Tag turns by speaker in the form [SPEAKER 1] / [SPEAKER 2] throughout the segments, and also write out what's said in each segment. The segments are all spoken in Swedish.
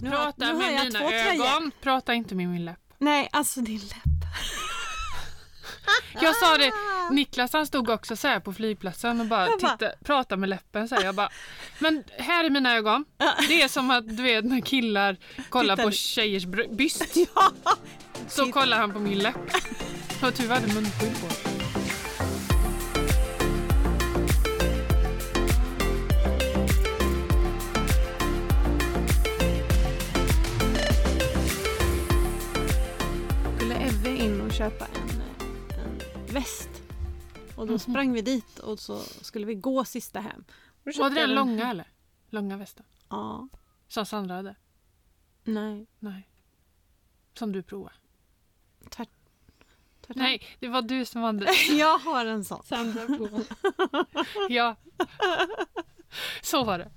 [SPEAKER 1] Nu har-
[SPEAKER 2] Prata
[SPEAKER 1] nu har
[SPEAKER 2] med
[SPEAKER 1] jag
[SPEAKER 2] mina
[SPEAKER 1] två tröjor.
[SPEAKER 2] ögon, prata inte med min läpp.
[SPEAKER 1] Nej, alltså din läpp.
[SPEAKER 2] Jag sa det, Niklas han stod också så här på flygplatsen och bara
[SPEAKER 1] Ah! Jag bara-
[SPEAKER 2] titta, prata med läppen. Så här. Jag bara, men här är mina ögon.
[SPEAKER 1] Ah.
[SPEAKER 2] Det är som att du vet när killar kollar
[SPEAKER 1] Tittar
[SPEAKER 2] på
[SPEAKER 1] du-
[SPEAKER 2] tjejers br- byst.
[SPEAKER 1] Ja.
[SPEAKER 2] Så kollar han på min läpp. Och tur var det munskydd på.
[SPEAKER 1] skulle Ebbe in och köpa en, eh, en väst. Och
[SPEAKER 2] Mhm.
[SPEAKER 1] då sprang vi dit och så skulle vi gå sista hem. Och då köpte
[SPEAKER 2] Var det
[SPEAKER 1] jag
[SPEAKER 2] den långa eller? Långa västen?
[SPEAKER 1] Ja.
[SPEAKER 2] Som Sandra hade?
[SPEAKER 1] Nej.
[SPEAKER 2] Nej. Som du provade?
[SPEAKER 1] Tvärt, tvärtom.
[SPEAKER 2] Nej, det var du som hade
[SPEAKER 1] Jag har en sån.
[SPEAKER 2] Sandra provade. ja. Så var det.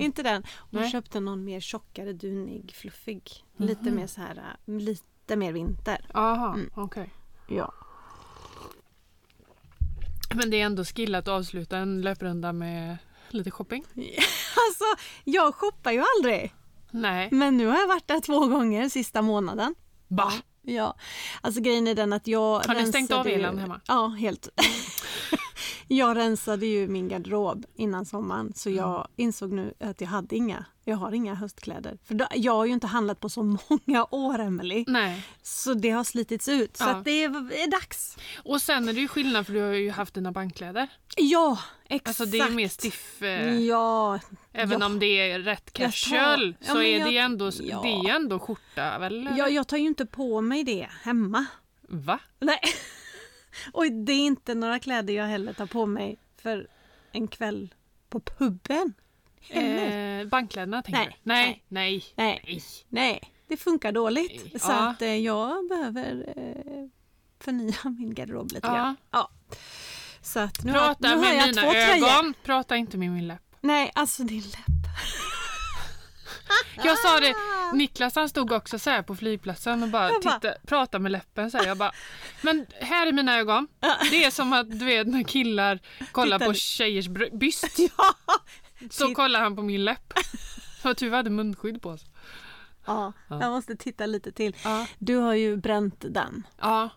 [SPEAKER 1] Inte den.
[SPEAKER 2] Mm.
[SPEAKER 1] Hon
[SPEAKER 2] Nej. Mhm.
[SPEAKER 1] köpte någon mer tjockare, dunig, fluffig. Lite mer så här, eh, lite mer vinter.
[SPEAKER 2] Aha,
[SPEAKER 1] Mm.
[SPEAKER 2] okej.
[SPEAKER 1] Ja.
[SPEAKER 2] Men det är ändå skill att avsluta en löprunda med lite shopping.
[SPEAKER 1] Alltså, jag shoppar ju aldrig.
[SPEAKER 2] Nej.
[SPEAKER 1] Men nu har jag varit där två gånger sista månaden.
[SPEAKER 2] Bah!
[SPEAKER 1] Ja, alltså grejen är den att jag
[SPEAKER 2] Har ni stängt
[SPEAKER 1] rensade
[SPEAKER 2] av
[SPEAKER 1] ju-
[SPEAKER 2] elen hemma?
[SPEAKER 1] Ja, helt. jag rensade ju min garderob innan sommaren
[SPEAKER 2] Mm.
[SPEAKER 1] så jag insåg nu att jag hade inga. Jag har inga höstkläder. För då, jag har ju inte handlat på så många år, Emily.
[SPEAKER 2] Nej.
[SPEAKER 1] Så det har slitits ut. Så
[SPEAKER 2] Mm. Ja.
[SPEAKER 1] att det är, är dags.
[SPEAKER 2] Och sen är det ju skillnad för du har ju haft dina bankkläder.
[SPEAKER 1] Ja, exakt.
[SPEAKER 2] Alltså det är ju mer stiff. Eh,
[SPEAKER 1] Ja,
[SPEAKER 2] Även
[SPEAKER 1] ja.
[SPEAKER 2] om det är rätt
[SPEAKER 1] Jag tar-
[SPEAKER 2] casual
[SPEAKER 1] Ja,
[SPEAKER 2] så
[SPEAKER 1] men
[SPEAKER 2] är
[SPEAKER 1] jag-
[SPEAKER 2] det ju ändå,
[SPEAKER 1] ja.
[SPEAKER 2] det är ju ändå skjorta väl?
[SPEAKER 1] jag, jag tar ju inte på mig det hemma.
[SPEAKER 2] Va?
[SPEAKER 1] Nej. Och det är inte några kläder jag heller tar på mig för en kväll på puben. Heller.
[SPEAKER 2] Eh, bankkläderna tänker
[SPEAKER 1] Nej,
[SPEAKER 2] du? Nej. Nej.
[SPEAKER 1] Nej.
[SPEAKER 2] Nej.
[SPEAKER 1] Nej, det funkar dåligt.
[SPEAKER 2] Ja.
[SPEAKER 1] Så att eh, jag behöver eh, förnya min garderob lite
[SPEAKER 2] Ja.
[SPEAKER 1] grann. Ja. Så att nu
[SPEAKER 2] Prata
[SPEAKER 1] har, nu har
[SPEAKER 2] med
[SPEAKER 1] jag
[SPEAKER 2] mina
[SPEAKER 1] två tröjor.
[SPEAKER 2] ögon. Prata inte med min läpp.
[SPEAKER 1] Nej, alltså din läpp.
[SPEAKER 2] Jag sa det, Niklas han stod också så här på flygplatsen och bara,
[SPEAKER 1] Ah. Jag bara-
[SPEAKER 2] titta, prata med läppen. Så här. Jag bara, men här är mina ögon.
[SPEAKER 1] Ah.
[SPEAKER 2] Det är som att du vet när killar kollar
[SPEAKER 1] Tittar
[SPEAKER 2] på
[SPEAKER 1] du-
[SPEAKER 2] tjejers br- byst.
[SPEAKER 1] Ja.
[SPEAKER 2] Så
[SPEAKER 1] Titt-
[SPEAKER 2] kollar han på min läpp. Och tur vi hade munskydd på oss.
[SPEAKER 1] ja, jag måste titta lite till.
[SPEAKER 2] Ja.
[SPEAKER 1] Du har ju bränt den
[SPEAKER 2] ja,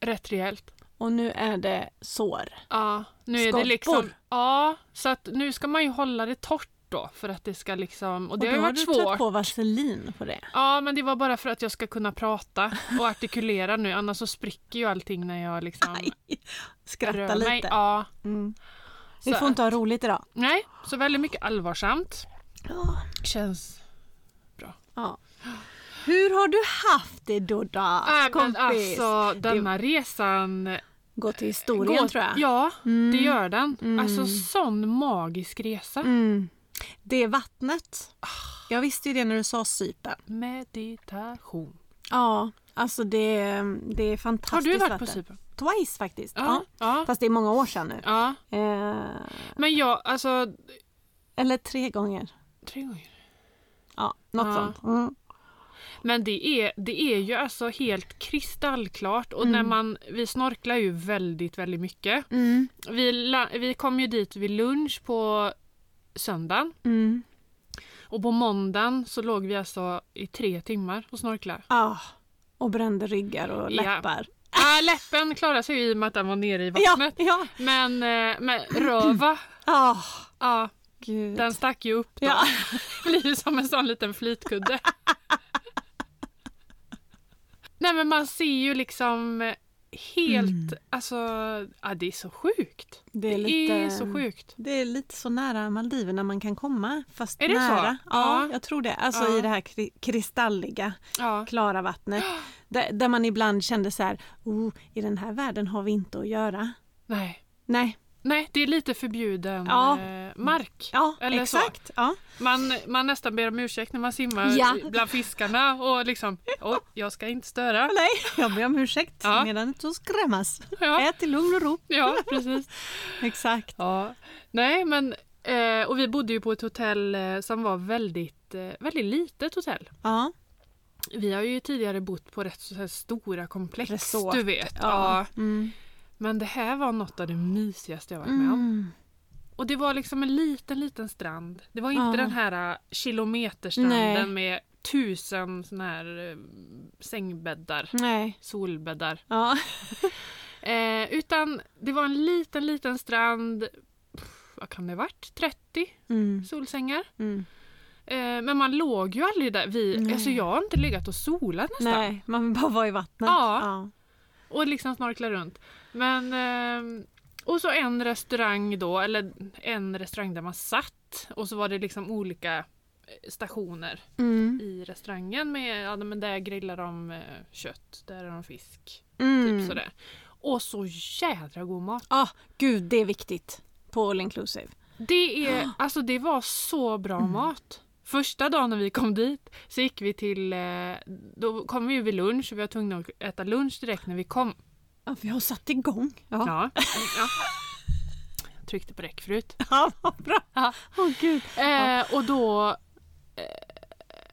[SPEAKER 2] rätt rejält.
[SPEAKER 1] och nu är det sår.
[SPEAKER 2] Ja, nu är det
[SPEAKER 1] Skorpor.
[SPEAKER 2] liksom... Ja, så att nu ska man ju hålla det torrt då för att det ska liksom... Och det
[SPEAKER 1] och
[SPEAKER 2] har ju
[SPEAKER 1] då
[SPEAKER 2] varit
[SPEAKER 1] har du tagit
[SPEAKER 2] svårt.
[SPEAKER 1] på vaselin på det.
[SPEAKER 2] Ja, men det var bara för att jag ska kunna prata och artikulera nu annars så spricker ju allting när jag liksom
[SPEAKER 1] Aj, Skratta
[SPEAKER 2] rör mig.
[SPEAKER 1] lite.
[SPEAKER 2] Ja.
[SPEAKER 1] Mm. Vi
[SPEAKER 2] Så,
[SPEAKER 1] får inte ha roligt idag.
[SPEAKER 2] Nej, så väldigt mycket allvarsamt.
[SPEAKER 1] Ja.
[SPEAKER 2] Känns...
[SPEAKER 1] Ja. Hur har du haft det då, då
[SPEAKER 2] Äh, men
[SPEAKER 1] kompis?
[SPEAKER 2] alltså denna resan...
[SPEAKER 1] Gå till historien
[SPEAKER 2] går-
[SPEAKER 1] tror jag.
[SPEAKER 2] Ja,
[SPEAKER 1] Mm.
[SPEAKER 2] det gör den. Alltså sån magisk resa.
[SPEAKER 1] Mm. Det är vattnet. Jag visste ju det när du sa Cypern.
[SPEAKER 2] Meditation.
[SPEAKER 1] Ja, alltså det, det är
[SPEAKER 2] Har
[SPEAKER 1] fantastiskt
[SPEAKER 2] du varit på
[SPEAKER 1] vatten.
[SPEAKER 2] Cypern?
[SPEAKER 1] Twice faktiskt. Ja.
[SPEAKER 2] Ja. ja.
[SPEAKER 1] Fast det är många år sedan nu.
[SPEAKER 2] ja.
[SPEAKER 1] Eh,
[SPEAKER 2] Men jag, alltså...
[SPEAKER 1] eller tre gånger.
[SPEAKER 2] Tre gånger.
[SPEAKER 1] Ja, något
[SPEAKER 2] Ja.
[SPEAKER 1] sånt. Mm.
[SPEAKER 2] Men det är, det är ju alltså helt kristallklart och när man, vi snorklar ju väldigt, väldigt mycket.
[SPEAKER 1] Mm.
[SPEAKER 2] Vi, la- vi kom ju dit vid lunch på söndagen
[SPEAKER 1] Mm.
[SPEAKER 2] och på måndagen så låg vi alltså i tre timmar och snorklade.
[SPEAKER 1] Ah. Och brände ryggar och
[SPEAKER 2] Ja.
[SPEAKER 1] läppar.
[SPEAKER 2] Äh, läppen klarade sig ju i och med att den var nere i
[SPEAKER 1] Ah. Ja,
[SPEAKER 2] vattnet.
[SPEAKER 1] ja.
[SPEAKER 2] Men, eh, men röva,
[SPEAKER 1] Ah,
[SPEAKER 2] ja,
[SPEAKER 1] gud.
[SPEAKER 2] den stack ju upp då.
[SPEAKER 1] Ja.
[SPEAKER 2] blir ju som en sån liten flytkudde. Nej men man ser ju liksom helt, alltså, ja, det är så sjukt.
[SPEAKER 1] Mm. Det är
[SPEAKER 2] Det är
[SPEAKER 1] lite-
[SPEAKER 2] så sjukt.
[SPEAKER 1] Det är lite så nära Maldiverna man kan komma. Fast
[SPEAKER 2] Är det så?
[SPEAKER 1] nära. Ja,
[SPEAKER 2] Ja.
[SPEAKER 1] jag tror det. Alltså
[SPEAKER 2] Ja.
[SPEAKER 1] i det här kri- kristalliga,
[SPEAKER 2] Ja.
[SPEAKER 1] klara vattnet. Där, där man ibland kände så här, oh, i den här världen har vi inte att göra.
[SPEAKER 2] Nej.
[SPEAKER 1] Nej,
[SPEAKER 2] Nej, det är lite förbjuden
[SPEAKER 1] Ja.
[SPEAKER 2] eh, mark.
[SPEAKER 1] ja
[SPEAKER 2] Eller så.
[SPEAKER 1] exakt. Ja.
[SPEAKER 2] Man, man nästan ber om ursäkt när man simmar
[SPEAKER 1] Ja.
[SPEAKER 2] i- bland fiskarna och liksom, "Oj, jag ska inte störa.
[SPEAKER 1] Nej, jag ber om ursäkt
[SPEAKER 2] Ja.
[SPEAKER 1] medan du skrämmas.
[SPEAKER 2] Ja,
[SPEAKER 1] Ät i lugn och ro.
[SPEAKER 2] ja precis.
[SPEAKER 1] Exakt.
[SPEAKER 2] Ja, nej men eh, och vi bodde ju på ett hotell eh, som var väldigt, eh, väldigt litet hotell.
[SPEAKER 1] Ja.
[SPEAKER 2] Vi har ju tidigare bott på rätt så här stora komplex,
[SPEAKER 1] Resort,
[SPEAKER 2] du vet. Ja.
[SPEAKER 1] Mm.
[SPEAKER 2] Men det här var något av det mysigaste jag varit med om.
[SPEAKER 1] Mm.
[SPEAKER 2] Och det var liksom en liten, liten strand. Det var inte
[SPEAKER 1] Ja.
[SPEAKER 2] den här äh, kilometerstranden
[SPEAKER 1] Nej.
[SPEAKER 2] med tusen såna här äh, sängbäddar,
[SPEAKER 1] Nej.
[SPEAKER 2] solbäddar.
[SPEAKER 1] Ja.
[SPEAKER 2] Eh, utan det var en liten, liten strand. Pff, vad kan det ha varit? 30
[SPEAKER 1] Mm.
[SPEAKER 2] solsängar.
[SPEAKER 1] Mm.
[SPEAKER 2] Eh, men man låg ju aldrig där. Vi,
[SPEAKER 1] Nej.
[SPEAKER 2] alltså jag har inte legat och solat nästan.
[SPEAKER 1] Nej, man vill bara vara i vattnet.
[SPEAKER 2] Ja.
[SPEAKER 1] Ja.
[SPEAKER 2] Och liksom snorkla runt. Men, ehm, och så en restaurang då, eller en restaurang där man satt. Och så var det liksom olika eh, stationer
[SPEAKER 1] Mm.
[SPEAKER 2] i restaurangen. Med, ja, men där grillar de eh, kött, där är de fisk.
[SPEAKER 1] Mm.
[SPEAKER 2] Typ sådär. Och så jädra god mat.
[SPEAKER 1] Ah, gud, det är viktigt på all inclusive.
[SPEAKER 2] Det, är, alltså, det var så bra mat. Första dagen när vi kom dit så gick vi till, eh, då kom vi ju vid lunch och vi var tvungna att äta lunch direkt när vi kom.
[SPEAKER 1] Ja, vi har satt igång. Ja,
[SPEAKER 2] Ja. ja. Jag tryckte på räck förut.
[SPEAKER 1] ja vad bra.
[SPEAKER 2] Ja.
[SPEAKER 1] Åh, gud.
[SPEAKER 2] Eh, och då, eh,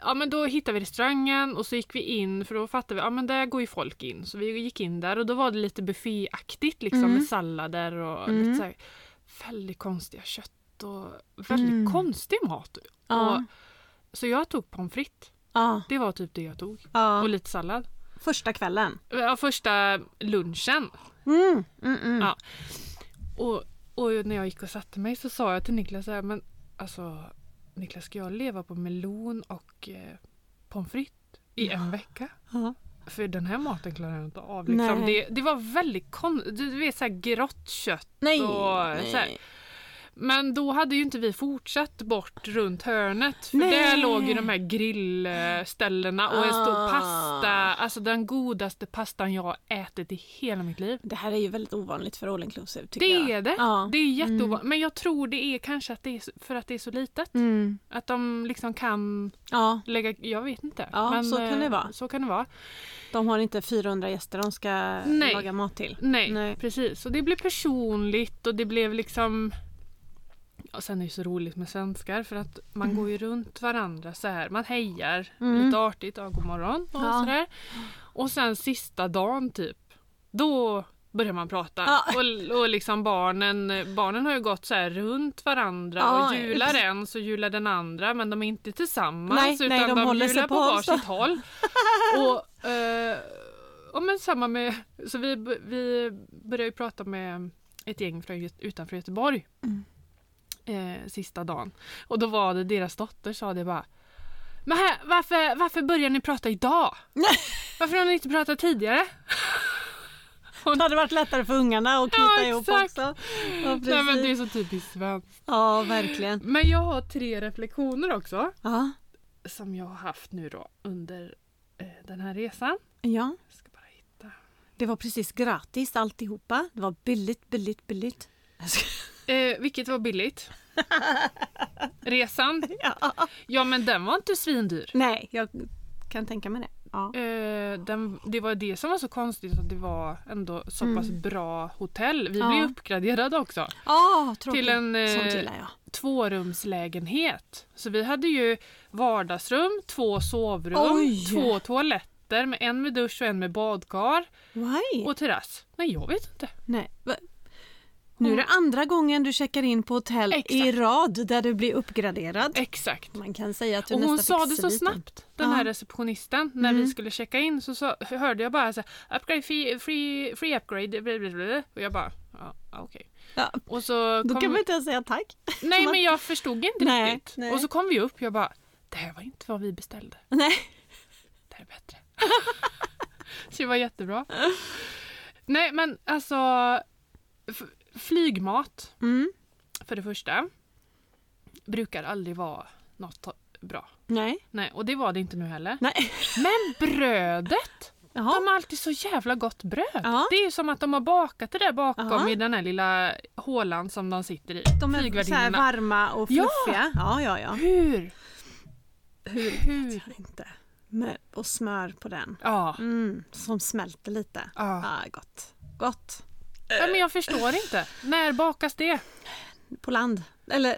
[SPEAKER 2] ja, men då hittade vi restaurangen och så gick vi in för då fattade vi att ja, men där går ju folk in. Så vi gick in där och då var det lite bufféaktigt liksom,
[SPEAKER 1] Mm.
[SPEAKER 2] med sallader och
[SPEAKER 1] Mm.
[SPEAKER 2] lite så här, väldigt konstiga kött och väldigt
[SPEAKER 1] Mm.
[SPEAKER 2] konstig mat.
[SPEAKER 1] Ja.
[SPEAKER 2] Och, så jag tog pommes frites.
[SPEAKER 1] Ja.
[SPEAKER 2] Det var typ det jag tog.
[SPEAKER 1] ja.
[SPEAKER 2] Och lite sallad.
[SPEAKER 1] Första kvällen.
[SPEAKER 2] Ja, första lunchen.
[SPEAKER 1] Mm. Mm, mm.
[SPEAKER 2] Ja. Och, och när jag gick och satte mig så sa jag till Niklas så här, men alltså Niklas ska jag leva på melon och eh, pommes frites i en vecka?
[SPEAKER 1] Ja.
[SPEAKER 2] För den här maten klarar jag inte av. Liksom.
[SPEAKER 1] Nej.
[SPEAKER 2] Det, det var väldigt konstigt, du vet såhär grått kött.
[SPEAKER 1] Nej.
[SPEAKER 2] Och så här.
[SPEAKER 1] nej.
[SPEAKER 2] Men då hade ju inte vi fortsatt bort runt hörnet. För
[SPEAKER 1] Nej.
[SPEAKER 2] där låg ju de här grillställena och en stor
[SPEAKER 1] Ah.
[SPEAKER 2] pasta. Alltså den godaste pastan jag har ätit i hela mitt liv.
[SPEAKER 1] Det här är ju väldigt ovanligt för all inclusive tycker
[SPEAKER 2] Det
[SPEAKER 1] jag.
[SPEAKER 2] är det.
[SPEAKER 1] Ja.
[SPEAKER 2] Det är jätteovanligt. Men jag tror det är kanske att det är så- för att det är så litet.
[SPEAKER 1] Mm.
[SPEAKER 2] Att de liksom kan
[SPEAKER 1] Ja,
[SPEAKER 2] lägga... Jag vet inte.
[SPEAKER 1] Ja,
[SPEAKER 2] men,
[SPEAKER 1] så kan det
[SPEAKER 2] eh,
[SPEAKER 1] vara.
[SPEAKER 2] Så kan det vara.
[SPEAKER 1] de har inte 400 gäster de ska
[SPEAKER 2] Nej.
[SPEAKER 1] laga mat till.
[SPEAKER 2] Nej,
[SPEAKER 1] Nej.
[SPEAKER 2] precis. Och det blev personligt och det blev liksom... Ja, sen är det ju så roligt med svenskar för att man går ju runt varandra så här. Man hejar
[SPEAKER 1] Mm.
[SPEAKER 2] lite artigt, ja, god morgon och
[SPEAKER 1] Ja.
[SPEAKER 2] sådär. Och sen sista dagen typ, då börjar man prata.
[SPEAKER 1] Ja.
[SPEAKER 2] Och, och liksom barnen, barnen har ju gått så här runt varandra och
[SPEAKER 1] Ja,
[SPEAKER 2] jular en så jular den andra men de är inte tillsammans
[SPEAKER 1] Nej,
[SPEAKER 2] utan
[SPEAKER 1] nej, de
[SPEAKER 2] de,
[SPEAKER 1] håller sig
[SPEAKER 2] jular
[SPEAKER 1] på
[SPEAKER 2] på,
[SPEAKER 1] avstånd.
[SPEAKER 2] varsitt håll. Och, eh, ja, men samma med, så vi, b- vi började ju prata med ett gäng från, Gö- utanför Göteborg
[SPEAKER 1] Mm.
[SPEAKER 2] eh, sista dagen. Och då var det deras dotter sa det bara men här, varför, varför börjar ni prata idag?
[SPEAKER 1] Nej.
[SPEAKER 2] Varför har ni inte pratat tidigare?
[SPEAKER 1] Det hade varit lättare för ungarna att knyta
[SPEAKER 2] Ja,
[SPEAKER 1] ihop
[SPEAKER 2] exakt.
[SPEAKER 1] också. Ja,
[SPEAKER 2] Nej, men det är
[SPEAKER 1] precis.
[SPEAKER 2] så typiskt svenskt.
[SPEAKER 1] ja verkligen.
[SPEAKER 2] Men jag har tre reflektioner också
[SPEAKER 1] Ja.
[SPEAKER 2] som jag har haft nu då under eh, den här resan.
[SPEAKER 1] ja,
[SPEAKER 2] Jag ska bara hitta.
[SPEAKER 1] det var precis gratis alltihopa. Det var billigt, billigt, billigt.
[SPEAKER 2] Eh, vilket var billigt. Resan?
[SPEAKER 1] Ja.
[SPEAKER 2] Ja, men den var inte svindyr.
[SPEAKER 1] Nej, jag kan tänka mig det. Ja.
[SPEAKER 2] Eh, den, det var det som var så konstigt att det var ändå så
[SPEAKER 1] Mm.
[SPEAKER 2] pass bra hotell. Vi
[SPEAKER 1] Ja.
[SPEAKER 2] blev uppgraderade också
[SPEAKER 1] Ah, tråkigt.
[SPEAKER 2] till en
[SPEAKER 1] Sånt
[SPEAKER 2] eh,
[SPEAKER 1] gillar jag.
[SPEAKER 2] tvårumslägenhet. Så vi hade ju vardagsrum, två sovrum,
[SPEAKER 1] Oj.
[SPEAKER 2] två toaletter, med en med dusch och en med badkar
[SPEAKER 1] Why?
[SPEAKER 2] och terrass. Nej, jag vet inte.
[SPEAKER 1] Nej. va- Nu är det andra gången du checkar in på hotell i
[SPEAKER 2] Mm. Exakt.
[SPEAKER 1] rad där du blir uppgraderad.
[SPEAKER 2] Exakt.
[SPEAKER 1] Man kan säga att du
[SPEAKER 2] Och hon
[SPEAKER 1] nästan
[SPEAKER 2] sa
[SPEAKER 1] fick
[SPEAKER 2] det så
[SPEAKER 1] celluliten.
[SPEAKER 2] snabbt, den
[SPEAKER 1] Typ Ja. Mm.
[SPEAKER 2] här receptionisten, när vi skulle checka in så, sa- hörde jag bara så här, upgrade, free, free, free upgrade, bla, bla, bla. och jag bara, ja, ja, okej.
[SPEAKER 1] Ja,
[SPEAKER 2] Och så
[SPEAKER 1] då
[SPEAKER 2] kom,
[SPEAKER 1] kan man inte ens säga tack.
[SPEAKER 2] nej men jag förstod inte
[SPEAKER 1] Nej,
[SPEAKER 2] riktigt.
[SPEAKER 1] nej.
[SPEAKER 2] Och så kom vi upp, jag bara, det här var inte vad vi beställde,
[SPEAKER 1] Nej.
[SPEAKER 2] det här är bättre. så det var jättebra. nej men alltså, f- flygmat
[SPEAKER 1] Mm.
[SPEAKER 2] för det första brukar aldrig vara något bra.
[SPEAKER 1] Nej.
[SPEAKER 2] Nej, och det var det inte nu heller.
[SPEAKER 1] Nej.
[SPEAKER 2] Men brödet!
[SPEAKER 1] Jaha.
[SPEAKER 2] De har alltid så jävla gott bröd.
[SPEAKER 1] Ja.
[SPEAKER 2] Det är ju som att de har bakat det där bakom
[SPEAKER 1] Ja.
[SPEAKER 2] i den här lilla hålan som de sitter i.
[SPEAKER 1] De är så här
[SPEAKER 2] Flygvärdinnorna.
[SPEAKER 1] varma och
[SPEAKER 2] Ja.
[SPEAKER 1] fluffiga. Ja, ja, ja.
[SPEAKER 2] Hur?
[SPEAKER 1] Hur?
[SPEAKER 2] Hur?
[SPEAKER 1] Inte. Med, och smör på den.
[SPEAKER 2] Ja.
[SPEAKER 1] Mm, som smälter lite.
[SPEAKER 2] Ja.
[SPEAKER 1] Ah, gott. Gott.
[SPEAKER 2] ja. Men jag förstår inte. När bakas det?
[SPEAKER 1] På land. Eller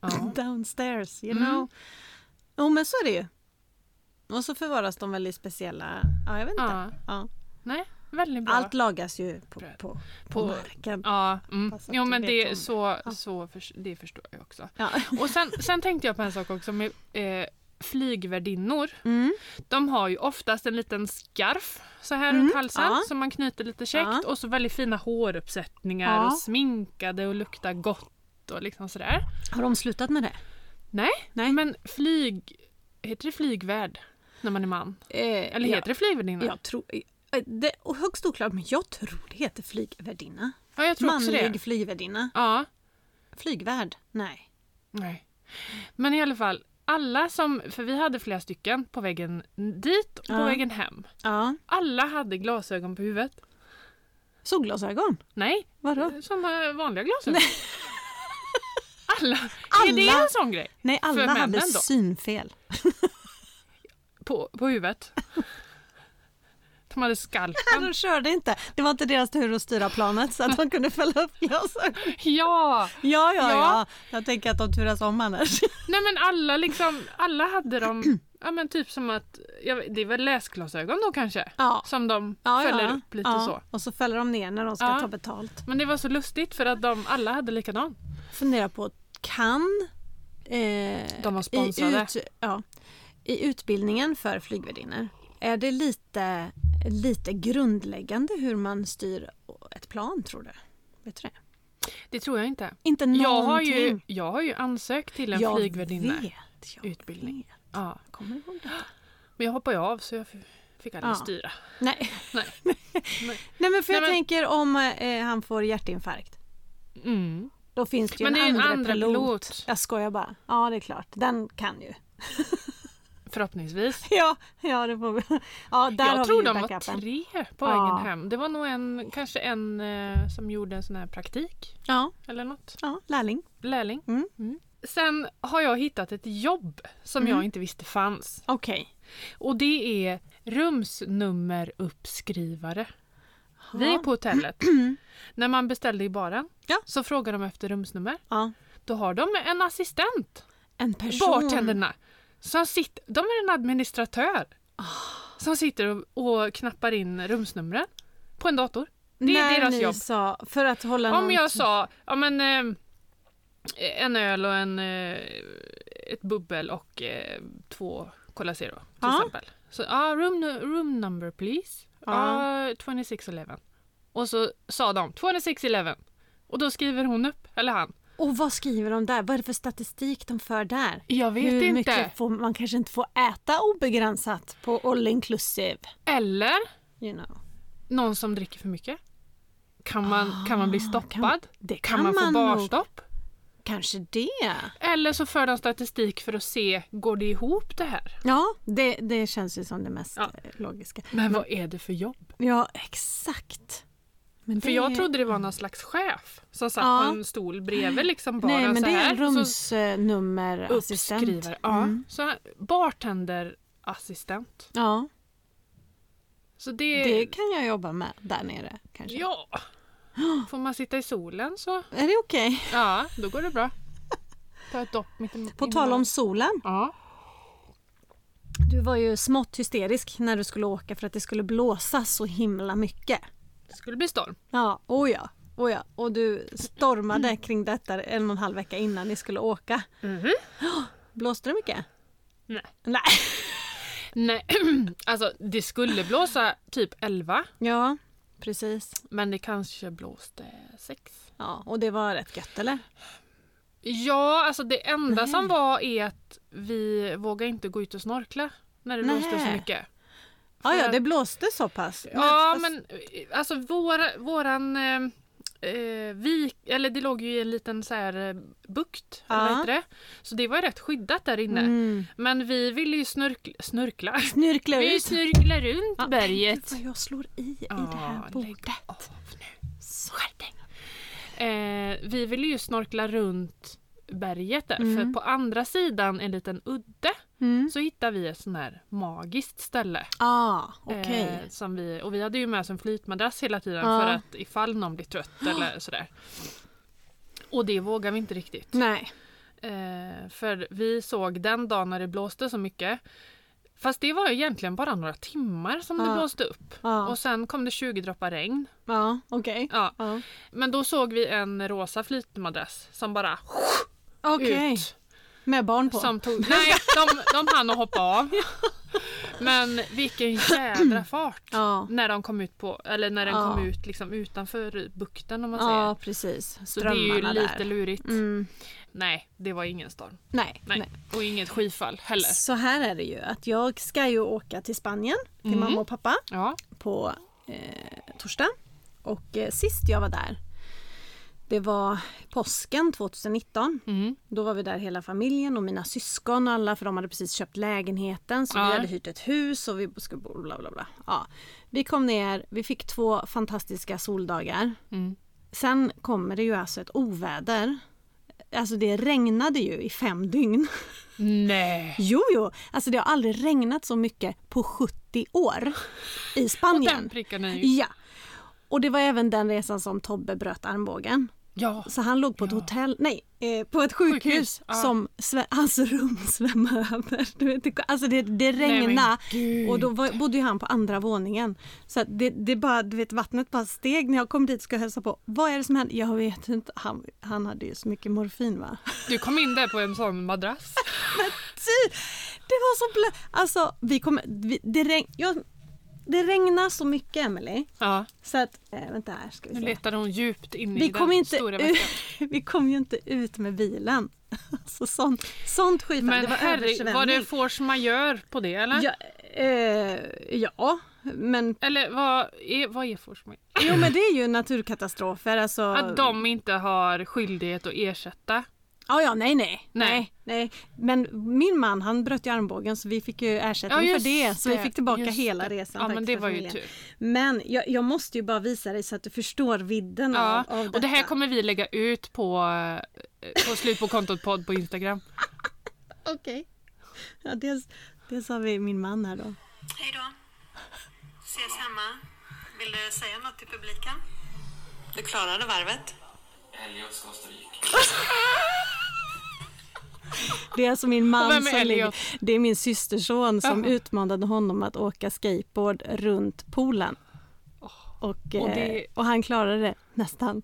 [SPEAKER 2] Ja.
[SPEAKER 1] downstairs, you
[SPEAKER 2] Mm.
[SPEAKER 1] know. Jo, men så är det ju. Och så förvaras de väl i speciella... Ja, jag vet inte.
[SPEAKER 2] ja.
[SPEAKER 1] Ja.
[SPEAKER 2] Nej. väldigt bra.
[SPEAKER 1] Allt lagas ju på,
[SPEAKER 2] Bröd.
[SPEAKER 1] på, på
[SPEAKER 2] På-
[SPEAKER 1] marken.
[SPEAKER 2] Ja, mm.
[SPEAKER 1] Fast att
[SPEAKER 2] jo,
[SPEAKER 1] du
[SPEAKER 2] men
[SPEAKER 1] vet om
[SPEAKER 2] det,
[SPEAKER 1] det.
[SPEAKER 2] så,
[SPEAKER 1] Ja.
[SPEAKER 2] så förs- det förstår jag också.
[SPEAKER 1] Ja.
[SPEAKER 2] Och sen, sen tänkte jag på en sak också med eh, flygvärdinnor.
[SPEAKER 1] Mm.
[SPEAKER 2] De har ju oftast en liten scarf så här
[SPEAKER 1] Mm,
[SPEAKER 2] runt halsen
[SPEAKER 1] ja.
[SPEAKER 2] som man knyter lite käckt
[SPEAKER 1] Ja.
[SPEAKER 2] och så väldigt fina håruppsättningar
[SPEAKER 1] Ja.
[SPEAKER 2] och sminkade och luktar gott och liksom sådär.
[SPEAKER 1] Har de slutat med det?
[SPEAKER 2] Nej,
[SPEAKER 1] Nej.
[SPEAKER 2] men flyg... Heter det flygvärd när man är man?
[SPEAKER 1] Eh,
[SPEAKER 2] Eller heter det flygvärdinna?
[SPEAKER 1] jag, jag tror, eh, det är högst oklart, men jag tror det heter flygvärdinna.
[SPEAKER 2] Ja, jag tror också det.
[SPEAKER 1] Manlig flygvärdinna.
[SPEAKER 2] Ja.
[SPEAKER 1] Flygvärd? Nej.
[SPEAKER 2] Nej. Men i alla fall, alla som... För vi hade flera stycken på vägen dit och på
[SPEAKER 1] Ja.
[SPEAKER 2] vägen hem.
[SPEAKER 1] Ja.
[SPEAKER 2] Alla hade glasögon på huvudet.
[SPEAKER 1] Solglasögon?
[SPEAKER 2] Nej,
[SPEAKER 1] Vadå?
[SPEAKER 2] som eh, vanliga glasögon. Alla. Är det
[SPEAKER 1] Alla?
[SPEAKER 2] en sån grej?
[SPEAKER 1] Nej, alla
[SPEAKER 2] männen
[SPEAKER 1] hade
[SPEAKER 2] då?
[SPEAKER 1] synfel.
[SPEAKER 2] På, på huvudet? De hade
[SPEAKER 1] Ja,
[SPEAKER 2] skalpen.
[SPEAKER 1] de körde inte. Det var inte deras tur att styra planet så att de kunde fälla upp glasögon.
[SPEAKER 2] Ja!
[SPEAKER 1] Ja, ja, ja,
[SPEAKER 2] Ja.
[SPEAKER 1] Jag tänker att de turas om annars.
[SPEAKER 2] Nej men alla liksom, alla hade dem, ja men typ som att, jag vet, det är väl läsglasögon då kanske?
[SPEAKER 1] Ja.
[SPEAKER 2] Som de
[SPEAKER 1] Ja,
[SPEAKER 2] fäller
[SPEAKER 1] ja.
[SPEAKER 2] upp lite
[SPEAKER 1] ja.
[SPEAKER 2] så.
[SPEAKER 1] Och så fäller de ner när de ska
[SPEAKER 2] Ja.
[SPEAKER 1] ta betalt.
[SPEAKER 2] Men det var så lustigt för att de alla hade likadan.
[SPEAKER 1] Fundera på, kan... Eh,
[SPEAKER 2] De var sponsrade.
[SPEAKER 1] I, ut, ja, I utbildningen för flygvärdinnor, är det lite, lite grundläggande hur man styr ett plan tror du? Vet du det?
[SPEAKER 2] Det tror jag inte.
[SPEAKER 1] Inte någonting.
[SPEAKER 2] Jag har, ju, jag har ju ansökt till en
[SPEAKER 1] Jag
[SPEAKER 2] flygvärdinneutbildning.
[SPEAKER 1] vet, jag
[SPEAKER 2] utbildning.
[SPEAKER 1] vet.
[SPEAKER 2] Ja.
[SPEAKER 1] Kommer du ihåg det?
[SPEAKER 2] Men jag hoppade ju av så jag f- fick aldrig
[SPEAKER 1] Ja.
[SPEAKER 2] styra.
[SPEAKER 1] Nej.
[SPEAKER 2] Nej.
[SPEAKER 1] Nej men för
[SPEAKER 2] Nej,
[SPEAKER 1] jag
[SPEAKER 2] men-
[SPEAKER 1] tänker om eh, han får hjärtinfarkt.
[SPEAKER 2] Mm.
[SPEAKER 1] Då finns det ju
[SPEAKER 2] Men det är
[SPEAKER 1] en
[SPEAKER 2] en
[SPEAKER 1] andra,
[SPEAKER 2] andra
[SPEAKER 1] pilot.
[SPEAKER 2] pilot.
[SPEAKER 1] Jag skojar bara. Ja det är klart, den kan ju.
[SPEAKER 2] Förhoppningsvis.
[SPEAKER 1] Ja, ja det får vi. Ja, där har
[SPEAKER 2] jag tror
[SPEAKER 1] vi ju
[SPEAKER 2] de var
[SPEAKER 1] backupen.
[SPEAKER 2] tre på
[SPEAKER 1] Ja.
[SPEAKER 2] vägen hem. Det var nog en, kanske en eh, som gjorde en sån här praktik
[SPEAKER 1] Ja,
[SPEAKER 2] eller något.
[SPEAKER 1] ja, lärling.
[SPEAKER 2] Lärling.
[SPEAKER 1] Mm.
[SPEAKER 2] Sen har jag hittat ett jobb som
[SPEAKER 1] Mm.
[SPEAKER 2] jag inte visste fanns.
[SPEAKER 1] Okej.
[SPEAKER 2] Och det är rumsnummeruppskrivare. Vi är på hotellet. När man beställde i baren
[SPEAKER 1] Ja.
[SPEAKER 2] så frågar de efter rumsnummer.
[SPEAKER 1] Ja.
[SPEAKER 2] Då har de en assistent,
[SPEAKER 1] En person.
[SPEAKER 2] bartenderna. Som sitter, de är en administratör som sitter och, och knappar in rumsnumren på en dator. Det är
[SPEAKER 1] När
[SPEAKER 2] deras
[SPEAKER 1] ni
[SPEAKER 2] jobb.
[SPEAKER 1] Sa, för att hålla
[SPEAKER 2] Om
[SPEAKER 1] någon-
[SPEAKER 2] jag sa ja, men, eh, en öl och en, eh, ett bubbel och eh, två Cola Zero till
[SPEAKER 1] Ja.
[SPEAKER 2] exempel. Så ja, room, nu- room number please.
[SPEAKER 1] Ja.
[SPEAKER 2] Ja. 2611. Och så sa de 2611. Och då skriver hon upp, eller han.
[SPEAKER 1] Och vad skriver de där? Vad är det för statistik de för där?
[SPEAKER 2] Jag vet
[SPEAKER 1] Hur
[SPEAKER 2] inte.
[SPEAKER 1] mycket får, man kanske inte får äta obegränsat på all inclusive.
[SPEAKER 2] Eller
[SPEAKER 1] You know.
[SPEAKER 2] någon som dricker för mycket. Kan man, kan man bli stoppad?
[SPEAKER 1] Ah,
[SPEAKER 2] Kan,
[SPEAKER 1] kan- det kan
[SPEAKER 2] kan man,
[SPEAKER 1] man
[SPEAKER 2] få
[SPEAKER 1] nog.
[SPEAKER 2] barstopp?
[SPEAKER 1] Kanske det.
[SPEAKER 2] Eller så för de statistik för att se, går det ihop det här?
[SPEAKER 1] Ja, det, det känns ju som det mest
[SPEAKER 2] Ja.
[SPEAKER 1] eh, logiska.
[SPEAKER 2] Men vad är det för jobb?
[SPEAKER 1] Ja, exakt. Men
[SPEAKER 2] För
[SPEAKER 1] det
[SPEAKER 2] jag
[SPEAKER 1] är-
[SPEAKER 2] trodde det var någon slags chef som satt
[SPEAKER 1] Ja.
[SPEAKER 2] på en stol bredvid liksom bara
[SPEAKER 1] Nej, men
[SPEAKER 2] så
[SPEAKER 1] det är
[SPEAKER 2] här.
[SPEAKER 1] en
[SPEAKER 2] så
[SPEAKER 1] rumsnummerassistent.
[SPEAKER 2] uppskrivare. Ja.
[SPEAKER 1] Mm.
[SPEAKER 2] Så här, bartenderassistent.
[SPEAKER 1] Ja,
[SPEAKER 2] Så det,
[SPEAKER 1] det kan jag jobba med där nere kanske.
[SPEAKER 2] Ja. Får man sitta i solen så
[SPEAKER 1] Är det okej?
[SPEAKER 2] ja, då går det bra. Ta ett dopp mitt i-
[SPEAKER 1] På
[SPEAKER 2] i-
[SPEAKER 1] tal om solen.
[SPEAKER 2] Ja.
[SPEAKER 1] Du var ju smått hysterisk när du skulle åka för att det skulle blåsa så himla mycket.
[SPEAKER 2] Det skulle bli storm.
[SPEAKER 1] Ja, oh ja. Oh ja. Och du stormade kring detta en och en halv vecka innan ni skulle åka. Blåste det mycket?
[SPEAKER 2] Nej.
[SPEAKER 1] Nej.
[SPEAKER 2] Nej, alltså det skulle blåsa typ 11
[SPEAKER 1] Ja, precis.
[SPEAKER 2] men det kanske blåste 6.
[SPEAKER 1] Ja, och det var rätt gött eller?
[SPEAKER 2] Ja, alltså det enda som var är att vi vågade inte gå ut och snorkla när det blåste så
[SPEAKER 1] Nej.
[SPEAKER 2] mycket.
[SPEAKER 1] Ja, ja,
[SPEAKER 2] För-
[SPEAKER 1] det blåste så pass.
[SPEAKER 2] Ja,
[SPEAKER 1] fast-
[SPEAKER 2] men eh, alltså vår, våran eh, eh, vik, eller det låg ju i en liten så här eh, bukt,
[SPEAKER 1] Ja.
[SPEAKER 2] eller vad heter det? Så det var ju rätt skyddat där inne.
[SPEAKER 1] Mm.
[SPEAKER 2] Men vi ville ju snurkla, snurkla.
[SPEAKER 1] Snirkla
[SPEAKER 2] Vi
[SPEAKER 1] ut.
[SPEAKER 2] snurklar runt
[SPEAKER 1] Ja.
[SPEAKER 2] berget.
[SPEAKER 1] Ah, Vad jag slår i i det
[SPEAKER 2] Ja,
[SPEAKER 1] här
[SPEAKER 2] lägg av
[SPEAKER 1] bordet. Skärp dig.
[SPEAKER 2] Eh, vi ville ju snorkla runt berget där,
[SPEAKER 1] Mm.
[SPEAKER 2] för på andra sidan en liten udde
[SPEAKER 1] Mm.
[SPEAKER 2] så hittade vi ett sån här magiskt ställe.
[SPEAKER 1] Ah, okej.
[SPEAKER 2] Eh, som vi, och vi hade ju med oss en flytmadrass hela tiden
[SPEAKER 1] Ja.
[SPEAKER 2] för att ifall någon blir trött eller sådär. Och det vågar vi inte riktigt.
[SPEAKER 1] Nej.
[SPEAKER 2] Eh, för vi såg den dagen när det blåste så mycket Fast det var ju egentligen bara några timmar som det
[SPEAKER 1] Ja.
[SPEAKER 2] blåste upp.
[SPEAKER 1] Ja,
[SPEAKER 2] Och sen kom det 20 droppar regn.
[SPEAKER 1] ja okej.
[SPEAKER 2] Ja.
[SPEAKER 1] Ja.
[SPEAKER 2] Men då såg vi en rosa flytmadrass som bara
[SPEAKER 1] Okej,
[SPEAKER 2] ut.
[SPEAKER 1] med barn på.
[SPEAKER 2] Som tog, nej, de, de hann att hoppa av. Men vilken jädra fart.
[SPEAKER 1] Ja.
[SPEAKER 2] När de kom ut på, eller när den
[SPEAKER 1] Ja.
[SPEAKER 2] kom ut liksom utanför bukten om man säger.
[SPEAKER 1] ja, precis.
[SPEAKER 2] Så det är ju
[SPEAKER 1] Strömmarna
[SPEAKER 2] lite
[SPEAKER 1] där.
[SPEAKER 2] lurigt.
[SPEAKER 1] Mm.
[SPEAKER 2] Nej, det var ingen storm.
[SPEAKER 1] Nej,
[SPEAKER 2] Nej.
[SPEAKER 1] nej.
[SPEAKER 2] Och inget skyfall heller.
[SPEAKER 1] Så här är det ju att jag ska ju åka till Spanien till
[SPEAKER 2] Mm.
[SPEAKER 1] mamma och pappa
[SPEAKER 2] Ja.
[SPEAKER 1] på eh, torsdag. Och eh, sist jag var där, det var påsken 2019.
[SPEAKER 2] Mm.
[SPEAKER 1] Då var vi där hela familjen och mina syskon och alla för de hade precis köpt lägenheten så
[SPEAKER 2] Ja.
[SPEAKER 1] vi hade hyrt ett hus och vi skulle bo bla bla bla. Ja. Vi kom ner, vi fick två fantastiska soldagar.
[SPEAKER 2] Mm.
[SPEAKER 1] Sen kommer det ju alltså ett oväder. Alltså det regnade ju i fem dygn.
[SPEAKER 2] Nej.
[SPEAKER 1] Jo, jo. Alltså det har aldrig regnat så mycket på 70 år i
[SPEAKER 2] Och den
[SPEAKER 1] Spanien.
[SPEAKER 2] prickar ni ju.
[SPEAKER 1] Ja. Och det var även den resan som Tobbe bröt armbågen.
[SPEAKER 2] Ja.
[SPEAKER 1] Så han låg på ett
[SPEAKER 2] Ja.
[SPEAKER 1] hotell, nej, eh, på ett sjukhus,
[SPEAKER 2] Sjukhus, ja.
[SPEAKER 1] som sve, hans rum svämmade över. Du vet, det- alltså det, det
[SPEAKER 2] men
[SPEAKER 1] regnade
[SPEAKER 2] gud.
[SPEAKER 1] och då var, bodde ju han på andra våningen. Så att det, det bara, du vet, vattnet bara steg när jag kom dit och skulle hälsa på. Vad är det som händer? Jag vet inte. Han, han hade ju så mycket morfin va?
[SPEAKER 2] Du kom in där på en sån madrass.
[SPEAKER 1] Ty, det var så blött. Alltså, vi kommer... Vi, det, regn, jag, det regnar så mycket, Emily.
[SPEAKER 2] Ja.
[SPEAKER 1] Så att... Eh, vänta här ska vi
[SPEAKER 2] Nu
[SPEAKER 1] se.
[SPEAKER 2] letade hon djupt in i
[SPEAKER 1] Vi
[SPEAKER 2] den
[SPEAKER 1] kom, inte
[SPEAKER 2] stora
[SPEAKER 1] ut, vi kom ju inte ut med bilen. Alltså sånt, sånt skit.
[SPEAKER 2] Men
[SPEAKER 1] det var
[SPEAKER 2] herre,
[SPEAKER 1] översvämning.
[SPEAKER 2] var det force majeure på det eller?
[SPEAKER 1] Ja, eh, ja, men
[SPEAKER 2] Eller vad är, vad är force majeure?
[SPEAKER 1] jo men det är ju naturkatastrofer. Alltså,
[SPEAKER 2] Att de inte har skyldighet att ersätta.
[SPEAKER 1] Ja, ja, nej, nej,
[SPEAKER 2] Nej.
[SPEAKER 1] nej. nej, Men min man han bröt ju armbågen så vi fick ju ersättning
[SPEAKER 2] Ja,
[SPEAKER 1] för det.
[SPEAKER 2] just
[SPEAKER 1] Så vi
[SPEAKER 2] det,
[SPEAKER 1] fick tillbaka
[SPEAKER 2] just
[SPEAKER 1] hela
[SPEAKER 2] det.
[SPEAKER 1] resan.
[SPEAKER 2] Ja
[SPEAKER 1] tack
[SPEAKER 2] men det
[SPEAKER 1] för
[SPEAKER 2] var ju
[SPEAKER 1] familjen.
[SPEAKER 2] tur.
[SPEAKER 1] Men jag, jag måste ju bara visa dig så att du förstår vidden
[SPEAKER 2] Ja.
[SPEAKER 1] av, av detta.
[SPEAKER 2] Och det här kommer vi lägga ut på, eh, på slut på kontot podd på Instagram.
[SPEAKER 1] Okej. Ja, dels, dels har vi min man här då.
[SPEAKER 3] Hej då. Ses hemma. Vill du säga något till publiken? Du klarade varvet.
[SPEAKER 4] Helios Costa Rica.
[SPEAKER 1] Det är alltså min
[SPEAKER 2] Och vem
[SPEAKER 1] man
[SPEAKER 2] är
[SPEAKER 1] som
[SPEAKER 2] Elliot?
[SPEAKER 1] ligger... Det är min systerson som
[SPEAKER 2] Jaha.
[SPEAKER 1] utmanade honom att åka skateboard runt poolen. Och,
[SPEAKER 2] och
[SPEAKER 1] eh,
[SPEAKER 2] det-
[SPEAKER 1] och han klarade det nästan.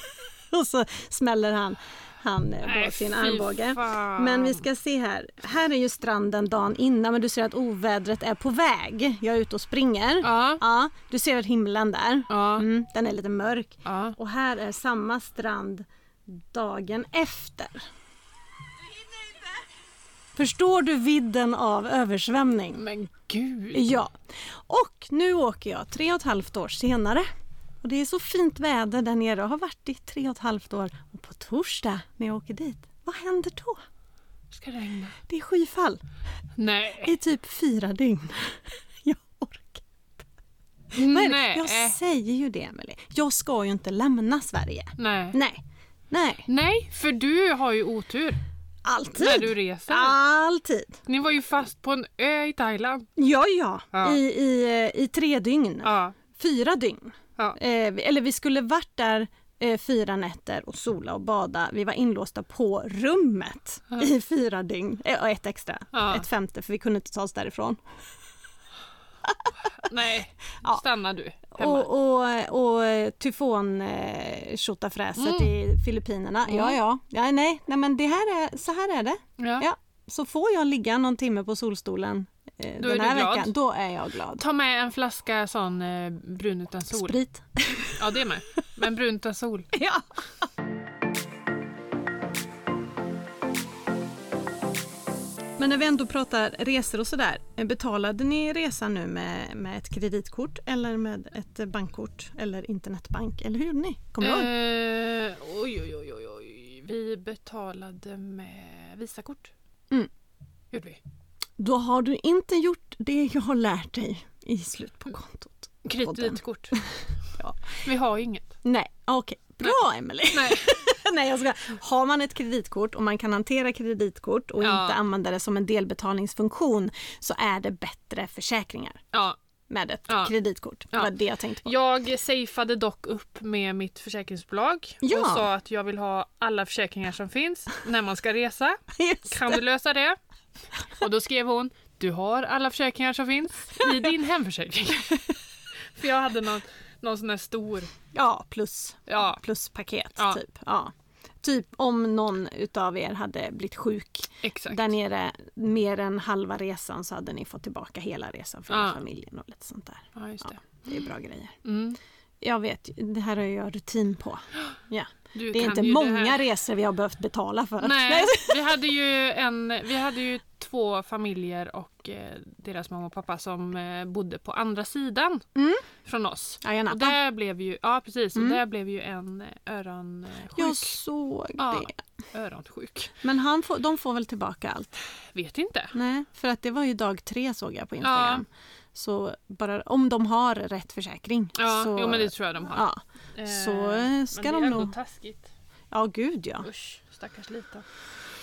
[SPEAKER 1] och så smäller han, han eh,
[SPEAKER 2] Nej,
[SPEAKER 1] bort sin
[SPEAKER 2] fy
[SPEAKER 1] armbåge.
[SPEAKER 2] fan.
[SPEAKER 1] Men vi ska se här. Här är ju stranden dagen innan men du ser att ovädret är på väg. Jag är ute och springer.
[SPEAKER 2] Ja.
[SPEAKER 1] Ja, du ser himlen där.
[SPEAKER 2] Ja.
[SPEAKER 1] Mm, den är lite mörk.
[SPEAKER 2] Ja.
[SPEAKER 1] Och här är samma strand dagen efter. Förstår du vidden av översvämning?
[SPEAKER 2] Men gud.
[SPEAKER 1] Ja. Och nu åker jag tre och ett halvt år senare. Och det är så fint väder där nere och har varit i tre och ett halvt år. Och på torsdag när jag åker dit, vad händer då?
[SPEAKER 2] Ska det regna?
[SPEAKER 1] Det är skyfall
[SPEAKER 2] Nej.
[SPEAKER 1] i typ fyra dygn. Jag orkar. Vad är det?
[SPEAKER 2] Nej.
[SPEAKER 1] Jag säger ju det Emelie. Jag ska ju inte lämna Sverige.
[SPEAKER 2] Nej.
[SPEAKER 1] Nej. Nej.
[SPEAKER 2] Nej, för du har ju otur
[SPEAKER 1] Alltid.
[SPEAKER 2] när du reser.
[SPEAKER 1] Alltid.
[SPEAKER 2] Ni var ju fast på en ö i Thailand.
[SPEAKER 1] Ja, ja.
[SPEAKER 2] Ja.
[SPEAKER 1] I, i, eh, I tre dygn.
[SPEAKER 2] Ja.
[SPEAKER 1] Fyra dygn.
[SPEAKER 2] Ja.
[SPEAKER 1] Eh, vi- eller vi skulle varit där eh, fyra nätter och sola och bada. Vi var inlåsta på rummet i fyra dygn. Eh, och ett extra.
[SPEAKER 2] Ja.
[SPEAKER 1] Ett femte, för vi kunde inte ta oss därifrån.
[SPEAKER 2] Nej,
[SPEAKER 1] Ja.
[SPEAKER 2] stanna du hemma.
[SPEAKER 1] Och, och, och eh, tyfon eh, tjotafräset
[SPEAKER 2] Mm.
[SPEAKER 1] i Filippinerna. Ja, ja. ja nej, nej, men det här är, så här är det.
[SPEAKER 2] Ja.
[SPEAKER 1] Ja. Så får jag ligga någon timme på solstolen eh,
[SPEAKER 2] Då är
[SPEAKER 1] den
[SPEAKER 2] du
[SPEAKER 1] här
[SPEAKER 2] glad.
[SPEAKER 1] veckan, då är jag glad.
[SPEAKER 2] Ta med en flaska sån eh, brun utan sol.
[SPEAKER 1] Sprit.
[SPEAKER 2] Ja, det med. Men brun utan sol.
[SPEAKER 1] ja. Men när vi ändå pratar resor och sådär. eh, Betalade ni resan nu med, med ett kreditkort eller med ett eh, bankkort eller internetbank? Eller hur gjorde ni? Kommer du ihåg?
[SPEAKER 2] Eh, oj, oj, oj, oj, oj. Vi betalade med Visakort.
[SPEAKER 1] Mm.
[SPEAKER 2] Gjorde vi.
[SPEAKER 1] Då har du inte gjort det jag har lärt dig i slut på kontot.
[SPEAKER 2] Kreditkort.
[SPEAKER 1] Ja.
[SPEAKER 2] Vi har ju inget.
[SPEAKER 1] Nej, okej. Bra Emelie!
[SPEAKER 2] Nej.
[SPEAKER 1] Nej, jag ska. Har man ett kreditkort och man kan hantera kreditkort och
[SPEAKER 2] Ja.
[SPEAKER 1] inte använda det som en delbetalningsfunktion så är det bättre försäkringar
[SPEAKER 2] Ja.
[SPEAKER 1] med ett
[SPEAKER 2] Ja.
[SPEAKER 1] kreditkort. Det
[SPEAKER 2] Ja.
[SPEAKER 1] var det jag tänkte på.
[SPEAKER 2] Jag safeade dock upp med mitt försäkringsbolag
[SPEAKER 1] Ja.
[SPEAKER 2] och sa att jag vill ha alla försäkringar som finns när man ska resa.
[SPEAKER 1] Just
[SPEAKER 2] Kan du lösa det? Och då skrev hon Du har alla försäkringar som finns i din hemförsäkring. För jag hade någon, någon sån där stor.
[SPEAKER 1] Ja, plus,
[SPEAKER 2] Ja.
[SPEAKER 1] pluspaket
[SPEAKER 2] Ja.
[SPEAKER 1] typ. Ja. Typ om någon utav er hade blivit sjuk
[SPEAKER 2] Exakt.
[SPEAKER 1] där nere mer än halva resan så hade ni fått tillbaka hela resan för
[SPEAKER 2] Ja.
[SPEAKER 1] familjen och lite sånt där.
[SPEAKER 2] Ja, just det.
[SPEAKER 1] Det är bra grejer.
[SPEAKER 2] Mm.
[SPEAKER 1] Jag vet, ju, det här har jag rutin på. Ja.
[SPEAKER 2] Du
[SPEAKER 1] Det är
[SPEAKER 2] kan
[SPEAKER 1] inte
[SPEAKER 2] ju
[SPEAKER 1] många
[SPEAKER 2] här.
[SPEAKER 1] resor vi har behövt betala för.
[SPEAKER 2] Nej, vi hade ju, en, vi hade ju två familjer och eh, deras mamma och pappa som eh, bodde på andra sidan
[SPEAKER 1] Mm.
[SPEAKER 2] från oss. Och
[SPEAKER 1] Ayana,
[SPEAKER 2] där blev ju, ja precis,
[SPEAKER 1] Mm.
[SPEAKER 2] och där blev ju en eh, öronsjuk.
[SPEAKER 1] jag såg
[SPEAKER 2] Ja.
[SPEAKER 1] det.
[SPEAKER 2] Öronsjuk.
[SPEAKER 1] Men han får, de får väl tillbaka allt?
[SPEAKER 2] Vet inte.
[SPEAKER 1] Nej, för att det var ju dag tre såg jag på Instagram. Så bara om de har rätt försäkring.
[SPEAKER 2] Ja,
[SPEAKER 1] så,
[SPEAKER 2] jo men det tror jag de har.
[SPEAKER 1] ja,
[SPEAKER 2] Eh,
[SPEAKER 1] så eh, ska
[SPEAKER 2] men
[SPEAKER 1] de
[SPEAKER 2] det är
[SPEAKER 1] nog...
[SPEAKER 2] ändå taskigt.
[SPEAKER 1] Ja, gud ja.
[SPEAKER 2] Usch, stackars liten.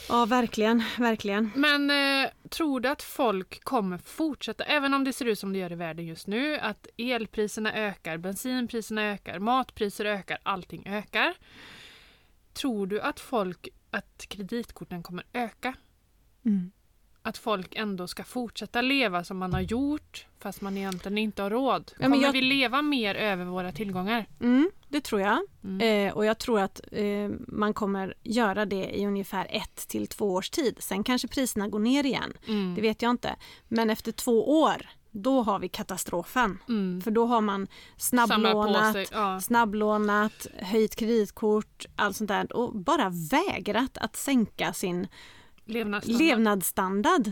[SPEAKER 1] Ja, verkligen, verkligen.
[SPEAKER 2] Men eh, tror du att folk kommer fortsätta, även om det ser ut som det gör i världen just nu, att elpriserna ökar, bensinpriserna ökar, matpriser ökar, allting ökar. Tror du att folk, att kreditkorten kommer öka?
[SPEAKER 1] Mm.
[SPEAKER 2] Att folk ändå ska fortsätta leva som man har gjort fast man egentligen inte har råd?
[SPEAKER 1] men
[SPEAKER 2] Kommer
[SPEAKER 1] jag-
[SPEAKER 2] vi leva mer över våra tillgångar?
[SPEAKER 1] Mm, det tror jag.
[SPEAKER 2] Mm.
[SPEAKER 1] Eh, och jag tror att eh, man kommer göra det i ungefär ett till två års tid. Sen kanske priserna går ner igen.
[SPEAKER 2] Mm.
[SPEAKER 1] Det vet jag inte. Men efter två år, då har vi katastrofen.
[SPEAKER 2] Mm.
[SPEAKER 1] För då har man
[SPEAKER 2] Samlar på sig.
[SPEAKER 1] snabblånat,
[SPEAKER 2] Ja.
[SPEAKER 1] snabblånat, höjt kreditkort, allt sånt där och bara vägrat att sänka sin
[SPEAKER 2] Levnadsstandard.
[SPEAKER 1] levnadsstandard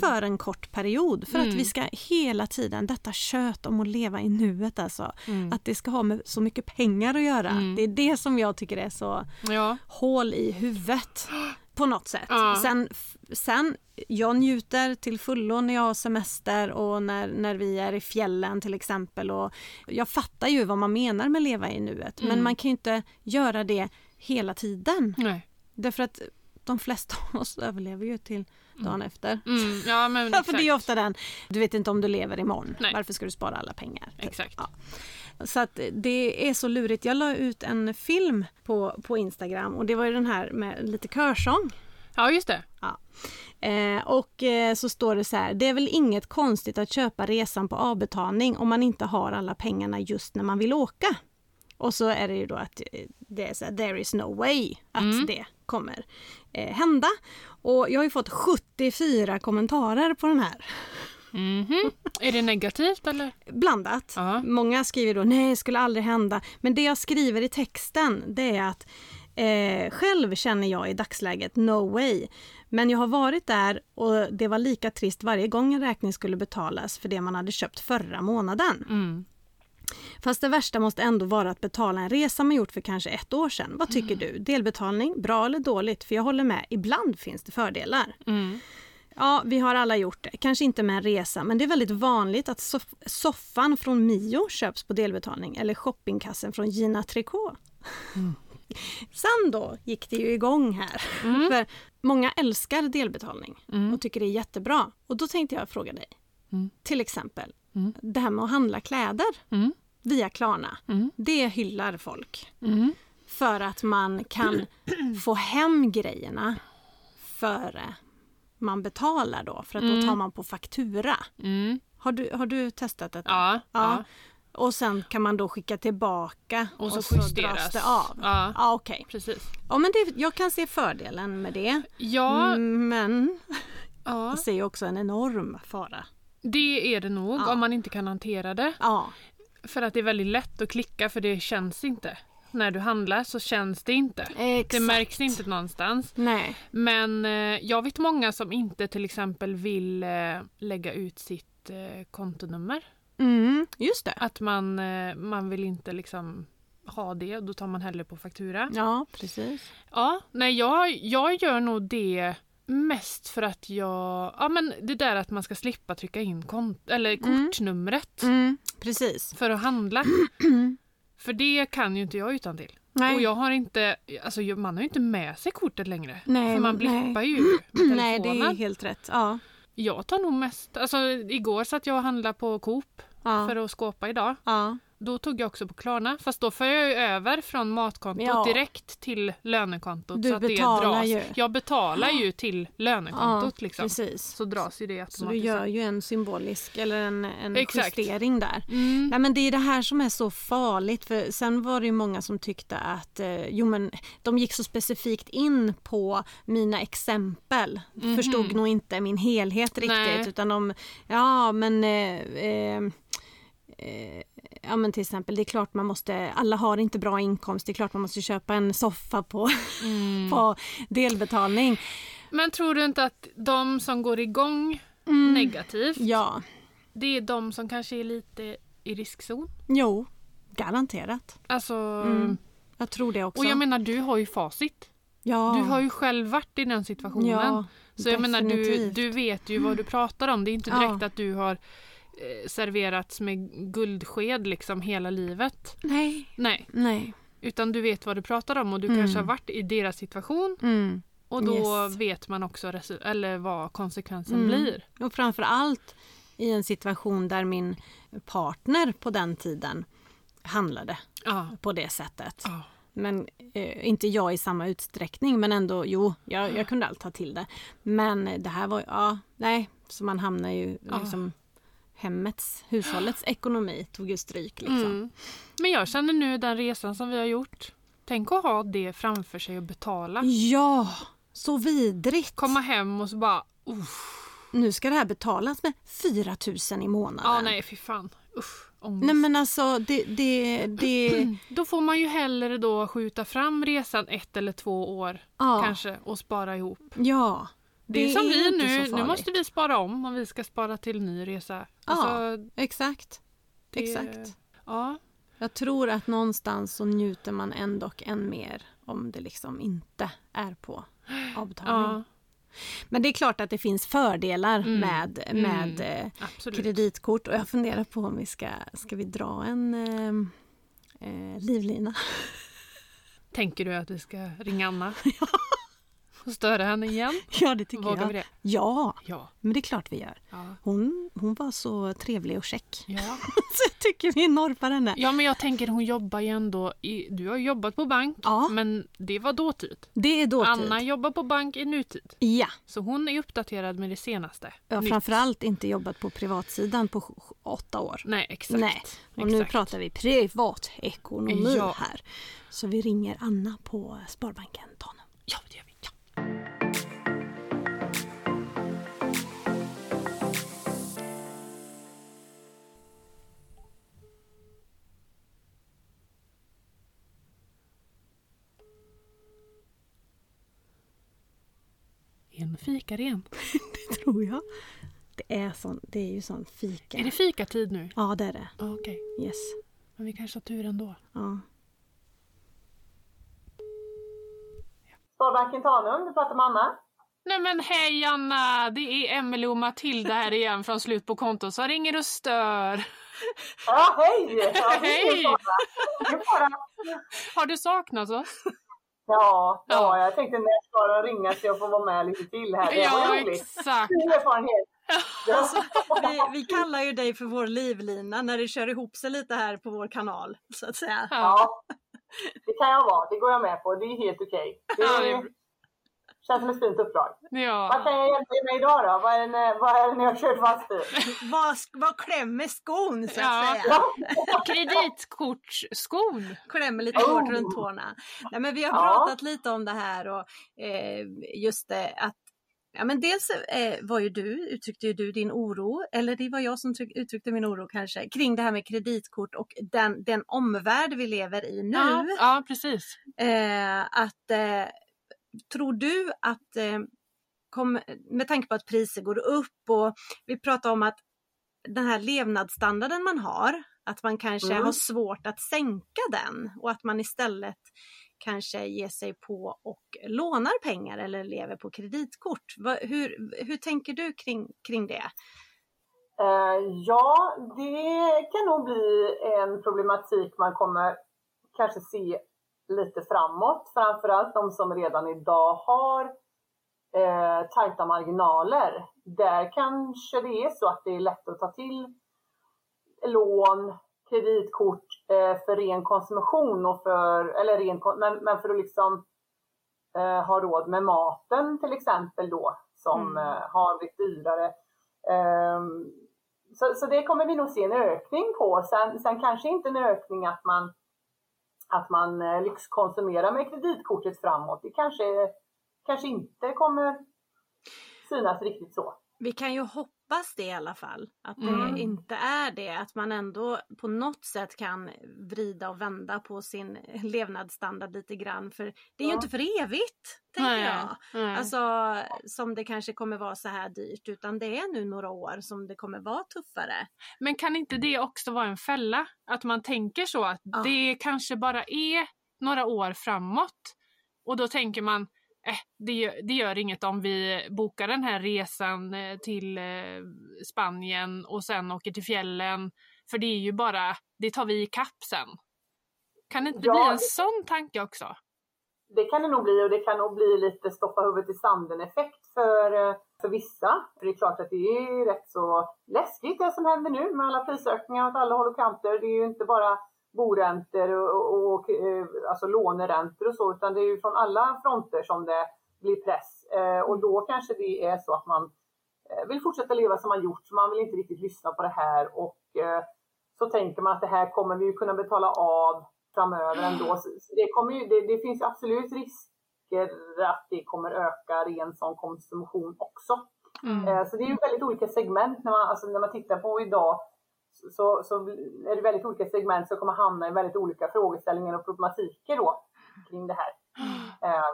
[SPEAKER 1] för en kort period. För att
[SPEAKER 2] Mm.
[SPEAKER 1] vi ska hela tiden, detta tjöt om att leva i nuet alltså.
[SPEAKER 2] Mm.
[SPEAKER 1] Att det ska ha med så mycket pengar att göra.
[SPEAKER 2] Mm.
[SPEAKER 1] Det är det som jag tycker är så
[SPEAKER 2] ja.
[SPEAKER 1] hål i huvudet på något sätt.
[SPEAKER 2] Ja.
[SPEAKER 1] Sen, sen, jag njuter till fullo när jag har semester och när, när vi är i fjällen till exempel. Och jag fattar ju vad man menar med leva i nuet men
[SPEAKER 2] Mm.
[SPEAKER 1] man kan ju inte göra det hela tiden.
[SPEAKER 2] Nej.
[SPEAKER 1] Därför att de flesta av oss överlever ju till dagen efter.
[SPEAKER 2] Mm. Ja, men
[SPEAKER 1] Ja, för det är ju
[SPEAKER 2] exakt.
[SPEAKER 1] ofta den, du vet inte om du lever imorgon.
[SPEAKER 2] Nej.
[SPEAKER 1] Varför ska du spara alla pengar? Typ.
[SPEAKER 2] Exakt.
[SPEAKER 1] Ja. Så att det är så lurigt. Jag la ut en film på, på Instagram och det var ju den här med lite körsång.
[SPEAKER 2] ja, just det.
[SPEAKER 1] Eh, och eh, så står det så här, det är väl inget konstigt att köpa resan på avbetalning om man inte har alla pengarna just när man vill åka. Och så är det ju då att eh, det är så här, there is no way att det kommer eh, hända. Och jag har ju fått 74 kommentarer på den här.
[SPEAKER 2] Mhm. Är det negativt eller?
[SPEAKER 1] blandat.
[SPEAKER 2] Ja.
[SPEAKER 1] Många skriver då nej, det skulle aldrig hända. Men det jag skriver i texten det är att eh, själv känner jag i dagsläget no way. Men jag har varit där och det var lika trist varje gång en räkning skulle betalas för det man hade köpt förra månaden.
[SPEAKER 2] Mm.
[SPEAKER 1] Fast det värsta måste ändå vara att betala en resa man gjort för kanske ett år sedan. Vad tycker
[SPEAKER 2] Mm.
[SPEAKER 1] du? Delbetalning, bra eller dåligt? För jag håller med, ibland finns det fördelar.
[SPEAKER 2] Mm.
[SPEAKER 1] Ja, vi har alla gjort det. Kanske inte med en resa, men det är väldigt vanligt att soff- soffan från Mio köps på delbetalning eller shoppingkassen från Gina Tricot. Sen då gick det ju igång här.
[SPEAKER 2] Mm.
[SPEAKER 1] För många älskar delbetalning och tycker det är jättebra. Och då tänkte jag fråga dig,
[SPEAKER 2] Mm.
[SPEAKER 1] till exempel
[SPEAKER 2] Mm.
[SPEAKER 1] det här med att handla kläder
[SPEAKER 2] Mm.
[SPEAKER 1] via Klarna.
[SPEAKER 2] Mm.
[SPEAKER 1] Det hyllar folk
[SPEAKER 2] Mm.
[SPEAKER 1] för att man kan få hem grejerna före man betalar då. För att då tar man på faktura.
[SPEAKER 2] Mm.
[SPEAKER 1] Har du, har du testat detta?
[SPEAKER 2] Ja, ja.
[SPEAKER 1] Och sen kan man då skicka tillbaka
[SPEAKER 2] Och så justeras.
[SPEAKER 1] dras det av.
[SPEAKER 2] Ja.
[SPEAKER 1] Ja, ah, okej.
[SPEAKER 2] Precis.
[SPEAKER 1] Ja, men det, jag kan se fördelen med det.
[SPEAKER 2] Ja,
[SPEAKER 1] Mm. Men
[SPEAKER 2] ja,
[SPEAKER 1] jag ser ju också en enorm fara.
[SPEAKER 2] det är det nog
[SPEAKER 1] Ja.
[SPEAKER 2] om man inte kan hantera det.
[SPEAKER 1] Ja,
[SPEAKER 2] För att det är väldigt lätt att klicka för det känns inte. När du handlar så känns det inte.
[SPEAKER 1] exakt.
[SPEAKER 2] Eh, Det märks inte någonstans.
[SPEAKER 1] Nej.
[SPEAKER 2] Men eh, jag vet många som inte till exempel vill eh, lägga ut sitt eh, kontonummer.
[SPEAKER 1] Mm, just det.
[SPEAKER 2] Att man, eh, man vill inte liksom ha det, då tar man hellre på faktura.
[SPEAKER 1] Ja, precis.
[SPEAKER 2] Ja, nej jag, jag gör nog det mest för att jag... Ja men det där att man ska slippa trycka in kont- eller kortnumret
[SPEAKER 1] Mm, precis.
[SPEAKER 2] för att handla. för det kan ju inte jag utan till.
[SPEAKER 1] Nej.
[SPEAKER 2] Och jag har inte... Alltså jag- man har ju inte med sig kortet längre.
[SPEAKER 1] Nej,
[SPEAKER 2] för man
[SPEAKER 1] nej.
[SPEAKER 2] blippar ju med telefonen.
[SPEAKER 1] Nej, det är helt rätt. Ja.
[SPEAKER 2] Jag tar nog mest... Alltså igår satt jag och handlade på Coop
[SPEAKER 1] Ja.
[SPEAKER 2] för att skåpa idag.
[SPEAKER 1] ja.
[SPEAKER 2] Då tog jag också på Klarna, fast då får jag ju över från matkontot
[SPEAKER 1] Ja.
[SPEAKER 2] direkt till lönekontot.
[SPEAKER 1] Du
[SPEAKER 2] så att det
[SPEAKER 1] betalar
[SPEAKER 2] dras.
[SPEAKER 1] ju.
[SPEAKER 2] Jag betalar ju till lönekontot liksom.
[SPEAKER 1] precis.
[SPEAKER 2] Så dras ju det automatiskt.
[SPEAKER 1] Så du gör ju en symbolisk eller en, en
[SPEAKER 2] Exakt.
[SPEAKER 1] justering där.
[SPEAKER 2] Mm.
[SPEAKER 1] Nej, men det är det här som är så farligt. För sen var det ju många som tyckte att eh, jo, men de gick så specifikt in på mina exempel. Förstod nog inte min helhet riktigt.
[SPEAKER 2] Mhm. Nej.
[SPEAKER 1] Utan de, ja men eh, eh, eh, Ja men till exempel, det är klart man måste, alla har inte bra inkomst, det är klart man måste köpa en soffa på,
[SPEAKER 2] Mm.
[SPEAKER 1] på delbetalning.
[SPEAKER 2] Men tror du inte att de som går igång negativt,
[SPEAKER 1] Mm. Ja,
[SPEAKER 2] det är de som kanske är lite i riskzon?
[SPEAKER 1] jo, garanterat.
[SPEAKER 2] Alltså,
[SPEAKER 1] Mm, Jag tror det också.
[SPEAKER 2] och jag menar du har ju facit.
[SPEAKER 1] ja.
[SPEAKER 2] Du har ju själv varit i den situationen.
[SPEAKER 1] Ja,
[SPEAKER 2] så jag menar du,
[SPEAKER 1] definitivt. Mm.
[SPEAKER 2] du vet ju vad du pratar om. Det är inte
[SPEAKER 1] Ja.
[SPEAKER 2] direkt att du har eh, serverats med guldsked liksom hela livet.
[SPEAKER 1] Nej.
[SPEAKER 2] Nej,
[SPEAKER 1] Nej.
[SPEAKER 2] utan du vet vad du pratar om och du
[SPEAKER 1] Mm.
[SPEAKER 2] kanske har varit i deras situation
[SPEAKER 1] Mm.
[SPEAKER 2] och då
[SPEAKER 1] Yes.
[SPEAKER 2] vet man också resu- eller vad konsekvensen
[SPEAKER 1] Mm.
[SPEAKER 2] blir.
[SPEAKER 1] Och framför allt i en situation där min partner på den tiden handlade
[SPEAKER 2] Ja.
[SPEAKER 1] på det sättet.
[SPEAKER 2] Ja.
[SPEAKER 1] Men eh, inte jag i samma utsträckning, men ändå, jo, jag, jag kunde allt ta till det. Men det här var, ja, nej, så man hamnar ju
[SPEAKER 2] Ja.
[SPEAKER 1] liksom hemmets, hushållets ekonomi tog ju stryk liksom.
[SPEAKER 2] Mm. Men jag känner nu den resan som vi har gjort. Tänk att ha det framför sig och betala.
[SPEAKER 1] Ja, så vidrigt!
[SPEAKER 2] Komma hem och så bara... "Ah, Uff,
[SPEAKER 1] Nu ska det här betalas med 4 000 i månaden.
[SPEAKER 2] ja, nej, fy fan. Usch, ångest.
[SPEAKER 1] nej men alltså, det, det, det
[SPEAKER 2] Då får man ju hellre då skjuta fram resan ett eller två år
[SPEAKER 1] ja.
[SPEAKER 2] kanske och spara ihop.
[SPEAKER 1] Ja.
[SPEAKER 2] Det, är som vi
[SPEAKER 1] inte
[SPEAKER 2] nu.
[SPEAKER 1] så
[SPEAKER 2] Nu
[SPEAKER 1] farligt.
[SPEAKER 2] måste vi spara om om vi ska spara till ny resa.
[SPEAKER 1] Ja.
[SPEAKER 2] Alltså,
[SPEAKER 1] Exakt.
[SPEAKER 2] det,
[SPEAKER 1] Exakt.
[SPEAKER 2] Ja.
[SPEAKER 1] Jag tror att någonstans så njuter man ändå än mer om det liksom inte är på avbetalning.
[SPEAKER 2] ja,
[SPEAKER 1] Men det är klart att det finns fördelar
[SPEAKER 2] Mm.
[SPEAKER 1] med,
[SPEAKER 2] Mm.
[SPEAKER 1] med eh,
[SPEAKER 2] absolut.
[SPEAKER 1] kreditkort och jag funderar på om vi ska, ska vi dra en eh, eh, livlina.
[SPEAKER 2] Tänker du att vi ska ringa Anna? Och störa henne igen?
[SPEAKER 1] Ja, det tycker
[SPEAKER 2] Vågar
[SPEAKER 1] jag.
[SPEAKER 2] vi det?
[SPEAKER 1] Ja,
[SPEAKER 2] Ja.
[SPEAKER 1] men det är klart vi gör.
[SPEAKER 2] Ja.
[SPEAKER 1] Hon, hon var så trevlig och check.
[SPEAKER 2] ja.
[SPEAKER 1] Så jag tycker vi norpar henne.
[SPEAKER 2] Ja men jag tänker hon jobbar ju ändå i, Du har ju jobbat på bank
[SPEAKER 1] Ja.
[SPEAKER 2] men det var dåtid.
[SPEAKER 1] Det är dåtid.
[SPEAKER 2] Anna jobbar på bank i nutid.
[SPEAKER 1] Ja.
[SPEAKER 2] Så hon är uppdaterad med det senaste.
[SPEAKER 1] Jag har
[SPEAKER 2] Nytt.
[SPEAKER 1] framförallt inte jobbat på privatsidan på sj- åtta år.
[SPEAKER 2] Nej exakt.
[SPEAKER 1] Nej, och nu
[SPEAKER 2] exakt.
[SPEAKER 1] pratar vi privatekonomi
[SPEAKER 2] Ja.
[SPEAKER 1] här. Så vi ringer Anna på Sparbanken Tanum.
[SPEAKER 2] Ja, det gör vi. Ja. En fikaren.
[SPEAKER 1] Det tror jag. Det är, sån, det är ju sån fika.
[SPEAKER 2] Är det fikatid nu?
[SPEAKER 1] Ja, det är det.
[SPEAKER 2] Ja, Okej,
[SPEAKER 1] Yes.
[SPEAKER 2] men vi kanske har tur ändå.
[SPEAKER 1] Ja.
[SPEAKER 5] Sparbanken Tanum, du pratar med Anna.
[SPEAKER 2] Nej men hej Anna! Det är Emelie och Matilda här igen från Slut på konto som ringer och stör.
[SPEAKER 5] Ja, hej! Ja,
[SPEAKER 2] Hej!
[SPEAKER 5] Det är bara...
[SPEAKER 2] Har du saknat oss?
[SPEAKER 5] Ja,
[SPEAKER 2] Ja.
[SPEAKER 5] ja, jag tänkte när jag ska ringa så jag får vara med lite till här. Det var
[SPEAKER 2] Ja,
[SPEAKER 5] roligt.
[SPEAKER 2] exakt.
[SPEAKER 5] Kul erfarenhet. Ja.
[SPEAKER 1] Vi, vi kallar ju dig för vår livlina när det kör ihop sig lite här på vår kanal. Så att säga.
[SPEAKER 2] Ja.
[SPEAKER 5] ja, det kan jag vara. Det går jag med på. Det är helt okej.
[SPEAKER 2] Ja,
[SPEAKER 5] Det
[SPEAKER 2] det är
[SPEAKER 5] är...
[SPEAKER 2] bra.
[SPEAKER 5] känns som ett fint uppdrag. Vad kan
[SPEAKER 2] ja.
[SPEAKER 5] jag hjälpa er med idag då? Vad är det, vad är det ni har kört fast i?
[SPEAKER 1] Vad, vad klämmer skon så att
[SPEAKER 2] Ja.
[SPEAKER 1] säga?
[SPEAKER 2] Kreditkortsskon.
[SPEAKER 1] klämmer lite
[SPEAKER 5] Oh.
[SPEAKER 1] hårt runt tårna. Nej, men vi har
[SPEAKER 5] Ja.
[SPEAKER 1] pratat lite om det här och eh, just det att Ja, men dels eh, var ju du, uttryckte ju du din oro, eller det var jag som tryck, uttryckte min oro kanske, kring det här med kreditkort och den, den omvärld vi lever i nu.
[SPEAKER 2] Ja, ja, precis.
[SPEAKER 1] Eh, att, eh, tror du att, eh, kom, med tanke på att priser går upp och vi pratar om att den här levnadsstandarden man har, att man kanske
[SPEAKER 5] Mm.
[SPEAKER 1] har svårt att sänka den och att man istället kanske ger sig på och lånar pengar eller lever på kreditkort. Vad- hur, hur tänker du kring, kring det?
[SPEAKER 5] Eh, ja, det kan nog bli en problematik man kommer kanske se lite framåt. Framförallt de som redan idag har eh, tajta marginaler. Där kanske det är så att det är lätt att ta till lån, kreditkort eh, för ren konsumtion, och för, eller ren, kon- men, men för att liksom eh, ha råd med maten till exempel då, som eh, har blivit dyrare. Ehm, så, så det kommer vi nog se en ökning på. Sen, sen kanske inte en ökning att man, att man eh, lyxkonsumerar med kreditkortet framåt. Det kanske, kanske inte kommer synas riktigt så.
[SPEAKER 6] Vi kan ju hoppas det i alla fall. Att det
[SPEAKER 2] Mm.
[SPEAKER 6] inte är det. Att man ändå på något sätt kan vrida och vända på sin levnadsstandard lite grann. För det är ju
[SPEAKER 5] Ja.
[SPEAKER 6] inte för evigt, tänker
[SPEAKER 2] Nej,
[SPEAKER 6] jag.
[SPEAKER 2] nej.
[SPEAKER 6] Alltså som det kanske kommer vara så här dyrt. Utan det är nu några år som det kommer vara tuffare.
[SPEAKER 2] Men kan inte det också vara en fälla? Att man tänker så att
[SPEAKER 6] Ja.
[SPEAKER 2] det kanske bara är några år framåt. Och då tänker man, eh, det, gör- det gör inget om vi bokar den här resan eh, till eh, Spanien och sen åker till fjällen. För det är ju bara, det tar vi i kapp sen. Kan det inte
[SPEAKER 5] Ja,
[SPEAKER 2] bli en
[SPEAKER 5] det-
[SPEAKER 2] sån tanke också?
[SPEAKER 5] Det kan det nog bli och det kan nog bli lite stoppa huvudet i sanden effekt för, eh, för vissa. För det är klart att det är rätt så läskigt det som händer nu med alla prisökningar åt alla håll och kanter. Det är ju inte bara boräntor och, och, och eh, alltså låneräntor och så utan det är ju från alla fronter som det blir press. Eh, och då kanske det är så att man eh, vill fortsätta leva som man gjort, så man vill inte riktigt lyssna på det här och eh, så tänker man att det här kommer vi ju kunna betala av framöver ändå. Så så det, kommer ju, det, det finns ju absolut risker att det kommer öka ren sån konsumtion också.
[SPEAKER 2] Mm.
[SPEAKER 5] Eh, Så det är ju väldigt olika segment när man, alltså när man tittar på idag så, så är det väldigt olika segment som kommer hamna i väldigt olika frågeställningar och problematiker då kring det här. Eh,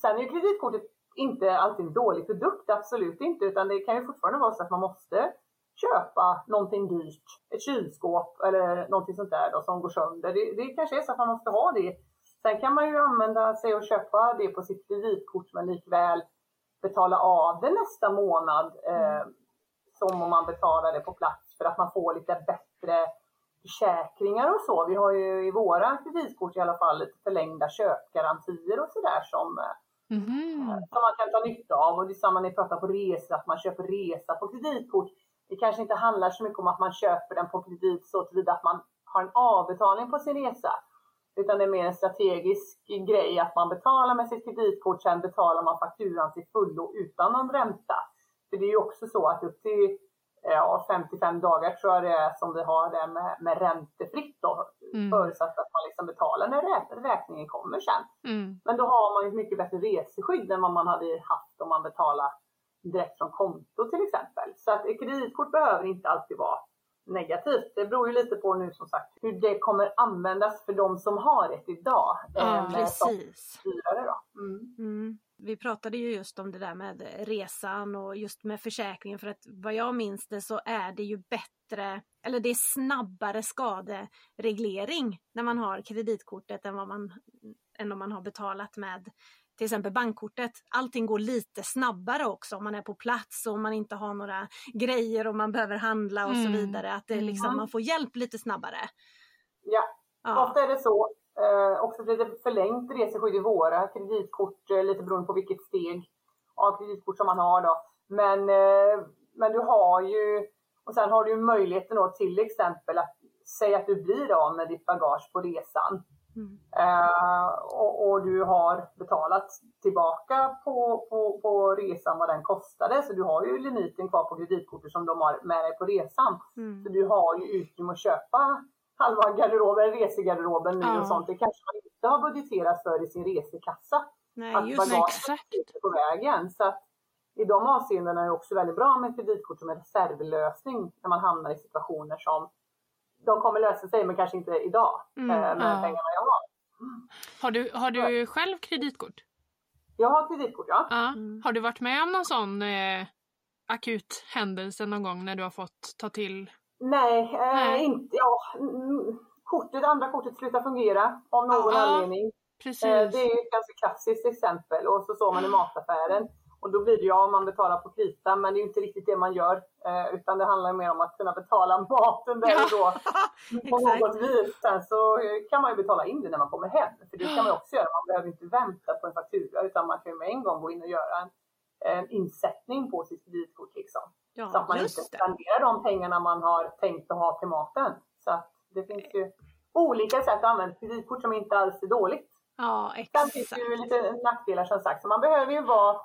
[SPEAKER 5] Sen är ju kreditkortet inte alltid en dålig produkt, absolut inte, utan det kan ju fortfarande vara så att man måste köpa någonting dyrt, ett kylskåp eller någonting sånt där då, som går sönder. Det, det kanske är så att man måste ha det. Sen kan man ju använda sig och köpa det på sitt kreditkort men likväl betala av det nästa månad eh, som om man betalar det på plats för att man får lite bättre försäkringar och så. Vi har ju i våra kreditkort i alla fall lite förlängda köpgarantier och sådär som, eh,
[SPEAKER 2] Mhm.
[SPEAKER 5] som man kan ta nytta av. Och det är samma när ni pratar på resor, att man köper resa på kreditkort. Det kanske inte handlar så mycket om att man köper den på kredit så tillvida att man har en avbetalning på sin resa. Utan det är mer en strategisk grej att man betalar med sitt kreditkort, sen betalar man fakturan till fullo utan någon ränta. För det är ju också så att upp till ja, 55 dagar tror jag det är som vi har det med, med räntefritt då.
[SPEAKER 2] Mm.
[SPEAKER 5] Förutsatt att man liksom betalar när rä- räkningen kommer sen.
[SPEAKER 2] Mm.
[SPEAKER 5] Men då har man ju ett mycket bättre reseskydd än vad man hade haft om man betalar direkt från konto till exempel. Så att ett kreditkort behöver inte alltid vara negativt. Det beror ju lite på nu som sagt hur det kommer användas för de som har ett idag.
[SPEAKER 2] Ja,
[SPEAKER 5] eh, med som
[SPEAKER 6] Precis.
[SPEAKER 5] dyrare då.
[SPEAKER 6] Mm. Vi pratade ju just om det där med resan och just med försäkringen för att vad jag minns det så är det ju bättre eller det är snabbare skadereglering när man har kreditkortet än, vad man, än om man har betalat med till exempel bankkortet. Allting går lite snabbare också om man är på plats och om man inte har några grejer och man behöver handla och så
[SPEAKER 2] Mm.
[SPEAKER 6] vidare. Att det är liksom,
[SPEAKER 5] Mm.
[SPEAKER 6] man får hjälp lite snabbare.
[SPEAKER 5] Ja,
[SPEAKER 6] Ja.
[SPEAKER 5] Ofta är det så. Eh, också blir det förlängt reseskydd i våra kreditkort, eh, lite beroende på vilket steg av kreditkort som man har då. Men, eh, men du har ju, och sen har du ju möjligheten då till exempel att säga att du blir av med ditt bagage på resan.
[SPEAKER 6] Mm.
[SPEAKER 5] Eh, och, och du har betalat tillbaka på, på, på resan vad den kostade. Så du har ju limiten kvar på kreditkortet som de har med dig på resan.
[SPEAKER 6] Mm.
[SPEAKER 5] Så du har ju utrymme att köpa halva garderoben, resegarderoben nu
[SPEAKER 2] Ja.
[SPEAKER 5] och sånt. Det kanske man inte har budgeterat för i sin resekassa.
[SPEAKER 6] Nej,
[SPEAKER 5] att
[SPEAKER 6] just
[SPEAKER 2] bagage-
[SPEAKER 6] det.
[SPEAKER 5] bagaget
[SPEAKER 2] exakt.
[SPEAKER 5] sitter på vägen. Så att i de avseendena är det också väldigt bra med kreditkort som en reservlösning när man hamnar i situationer som de kommer lösa sig, men kanske inte idag
[SPEAKER 6] Mm,
[SPEAKER 5] eh, med
[SPEAKER 2] ja.
[SPEAKER 5] pengarna jag har.
[SPEAKER 2] Har, du, har du själv kreditkort?
[SPEAKER 5] Jag har kreditkort, ja.
[SPEAKER 2] Ja.
[SPEAKER 6] Mm.
[SPEAKER 2] Har du varit med om någon sån eh, akut händelse någon gång när du har fått ta till?
[SPEAKER 5] Nej, eh,
[SPEAKER 2] Nej.
[SPEAKER 5] inte. Ja, mm, kortet, andra kortet slutar fungera av någon
[SPEAKER 2] Ja.
[SPEAKER 5] anledning.
[SPEAKER 2] Precis. Mm.
[SPEAKER 5] Eh, Det är ju ett ganska klassiskt exempel och så såg man i mataffären och då blir det ju ja, man betalar på krita men det är ju inte riktigt det man gör eh, utan det handlar ju mer om att kunna betala maten där och då på något vis. Sen så eh, kan man ju betala in det när man kommer hem för det kan man ju också göra. Man behöver inte vänta på en faktura utan man kan ju med en gång gå in och göra en, en insättning på sitt kreditkort liksom. Så att
[SPEAKER 6] Ja,
[SPEAKER 5] man inte
[SPEAKER 6] just det.
[SPEAKER 5] spenderar de pengarna man har tänkt att ha till maten. Så att Det finns ju olika sätt att använda ett kreditkort som inte alls är dåligt.
[SPEAKER 1] Ja,
[SPEAKER 5] Sen finns det
[SPEAKER 1] exakt.
[SPEAKER 5] ju lite nackdelar som sagt. Så man behöver ju vara...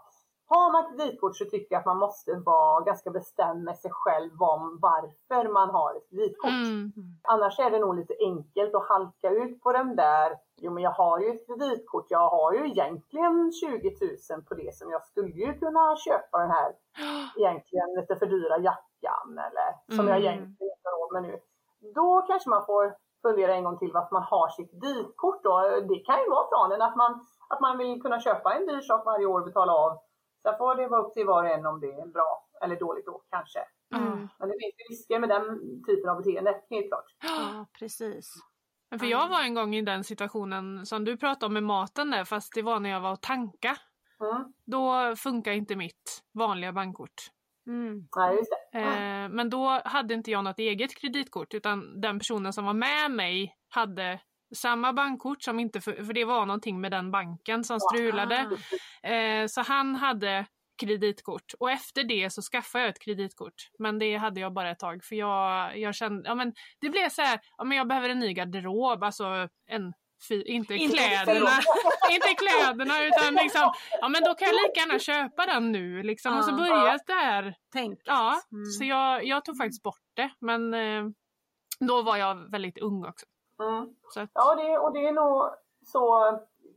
[SPEAKER 5] Har man kreditkort så tycker jag att man måste vara ganska bestämd med sig själv om varför man har ett kreditkort.
[SPEAKER 2] Mm.
[SPEAKER 5] Annars är det nog lite enkelt att halka ut på den där, jo men jag har ju ett kreditkort, jag har ju egentligen 20 000 på det som jag skulle ju kunna köpa den här egentligen lite för dyra jackan eller som jag
[SPEAKER 2] Mm.
[SPEAKER 5] egentligen inte har råd med nu. Då kanske man får fundera en gång till varför man har sitt kreditkort då. Det kan ju vara planen att man, att man vill kunna köpa en dyr sak varje år och betala av. Sen får det vara upp till var och en om det är bra eller dåligt då kanske.
[SPEAKER 2] Mm.
[SPEAKER 5] Men det finns ju risker med den typen av beteende, helt klart.
[SPEAKER 1] Ja, precis.
[SPEAKER 2] Men För jag var en gång i den situationen som du pratade om med maten där fast det var när jag var och tanka.
[SPEAKER 5] Mm.
[SPEAKER 2] Då funkar inte mitt vanliga bankkort.
[SPEAKER 1] Mm.
[SPEAKER 5] Nej, just det.
[SPEAKER 2] Eh, men då hade inte jag något eget kreditkort utan den personen som var med mig hade samma bankkort som inte, för, för det var någonting med den banken som
[SPEAKER 1] Ah.
[SPEAKER 2] strulade. Eh, så han hade kreditkort och efter det så skaffade jag ett kreditkort. Men det hade jag bara ett tag för jag, jag kände, ja men det blev så här, ja men jag behöver en ny garderob, alltså en fy- inte,
[SPEAKER 1] Inte
[SPEAKER 2] kläderna, inte kläderna utan liksom, ja men då kan jag lika gärna köpa den nu liksom. Och så
[SPEAKER 1] Ja.
[SPEAKER 2] började det här
[SPEAKER 1] Tänk.
[SPEAKER 2] Ja,
[SPEAKER 1] Mm.
[SPEAKER 2] så jag, jag tog faktiskt bort det. Men eh, då var jag väldigt ung också.
[SPEAKER 5] Mm.
[SPEAKER 2] Så att,
[SPEAKER 5] Ja, det, och det är nog så...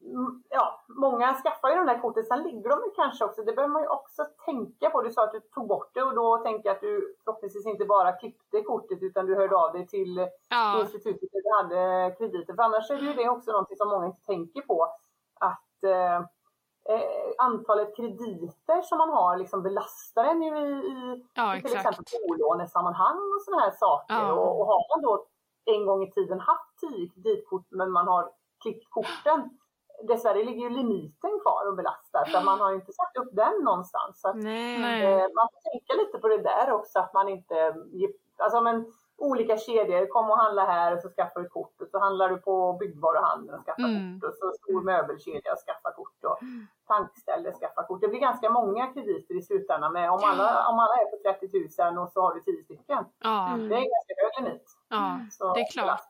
[SPEAKER 5] mm, Ja, många skaffar ju de där korten, sen ligger de ju kanske också, det behöver man ju också tänka på. Du sa att du tog bort det och då tänker jag att du förhoppningsvis inte bara klippte kortet utan du hörde av dig till
[SPEAKER 2] ja,
[SPEAKER 5] institutet där du hade krediter. För annars är det ju det också någonting som många inte tänker på. Att eh, eh, antalet krediter som man har liksom belastar en ju i, i
[SPEAKER 2] ja
[SPEAKER 5] i till
[SPEAKER 2] exakt.
[SPEAKER 5] exempel bolånesammanhang och sådana här saker.
[SPEAKER 2] Ja.
[SPEAKER 5] Och, och har man då en gång i tiden haft 10 kreditkort men man har klippt korten, dessvärre ligger ju limiten kvar och belastar för man har ju inte satt upp den någonstans. Så att,
[SPEAKER 1] Nej.
[SPEAKER 2] Nej.
[SPEAKER 5] eh, man får tänka lite på det där också att man inte, ge- alltså men olika kedjor, kom och handla här och så skaffar du kort och så handlar du på byggvaruhandeln och skaffar
[SPEAKER 2] Mm.
[SPEAKER 5] kort och så stor möbelkedja och skaffar kort och tankställe skaffar kort. Det blir ganska många krediter i slutändan med om alla, om alla är på 30 000 och så har du 10 stycken.
[SPEAKER 2] Ja,
[SPEAKER 1] Mm.
[SPEAKER 5] Det är en ganska hög limit.
[SPEAKER 2] ja,
[SPEAKER 5] Så
[SPEAKER 2] det är klart.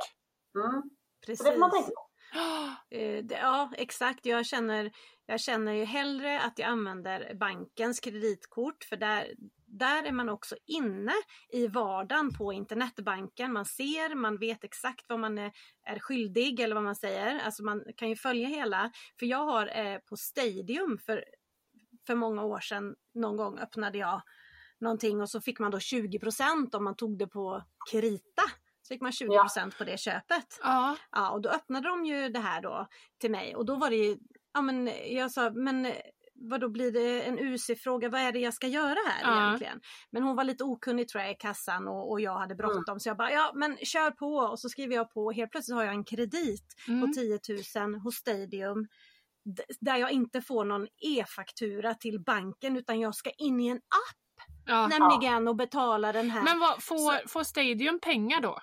[SPEAKER 5] Mm. Så
[SPEAKER 1] Precis.
[SPEAKER 5] det får man tänka på.
[SPEAKER 1] Eh, det- Ja, exakt. Jag känner, jag känner ju hellre att jag använder bankens kreditkort för där, där är man också inne i vardagen på internetbanken. Man ser, man vet exakt vad man är, är skyldig eller vad man säger. Alltså man kan ju följa hela. För jag har eh, på Stadium för, för många år sedan någon gång öppnade jag någonting och så fick man då 20 om man tog det på Krita. Så fick man 20 på det köpet.
[SPEAKER 2] Ja,
[SPEAKER 1] Ja, och då öppnade de ju det här då till mig och då var det ju, ja men jag sa, men vad då blir det en UC-fråga, vad är det jag ska göra här
[SPEAKER 2] Ja.
[SPEAKER 1] egentligen? Men hon var lite okunnig tror jag i kassan och, och jag hade bråttom
[SPEAKER 2] Mm.
[SPEAKER 1] så jag bara, ja men kör på och så skriver jag på och helt plötsligt har jag en kredit
[SPEAKER 2] mm.
[SPEAKER 1] på 10 000 hos Stadium d- där jag inte får någon e-faktura till banken utan jag ska in i en app
[SPEAKER 2] ja.
[SPEAKER 1] nämligen och betala den här
[SPEAKER 2] Men vad, får, får Stadium pengar då?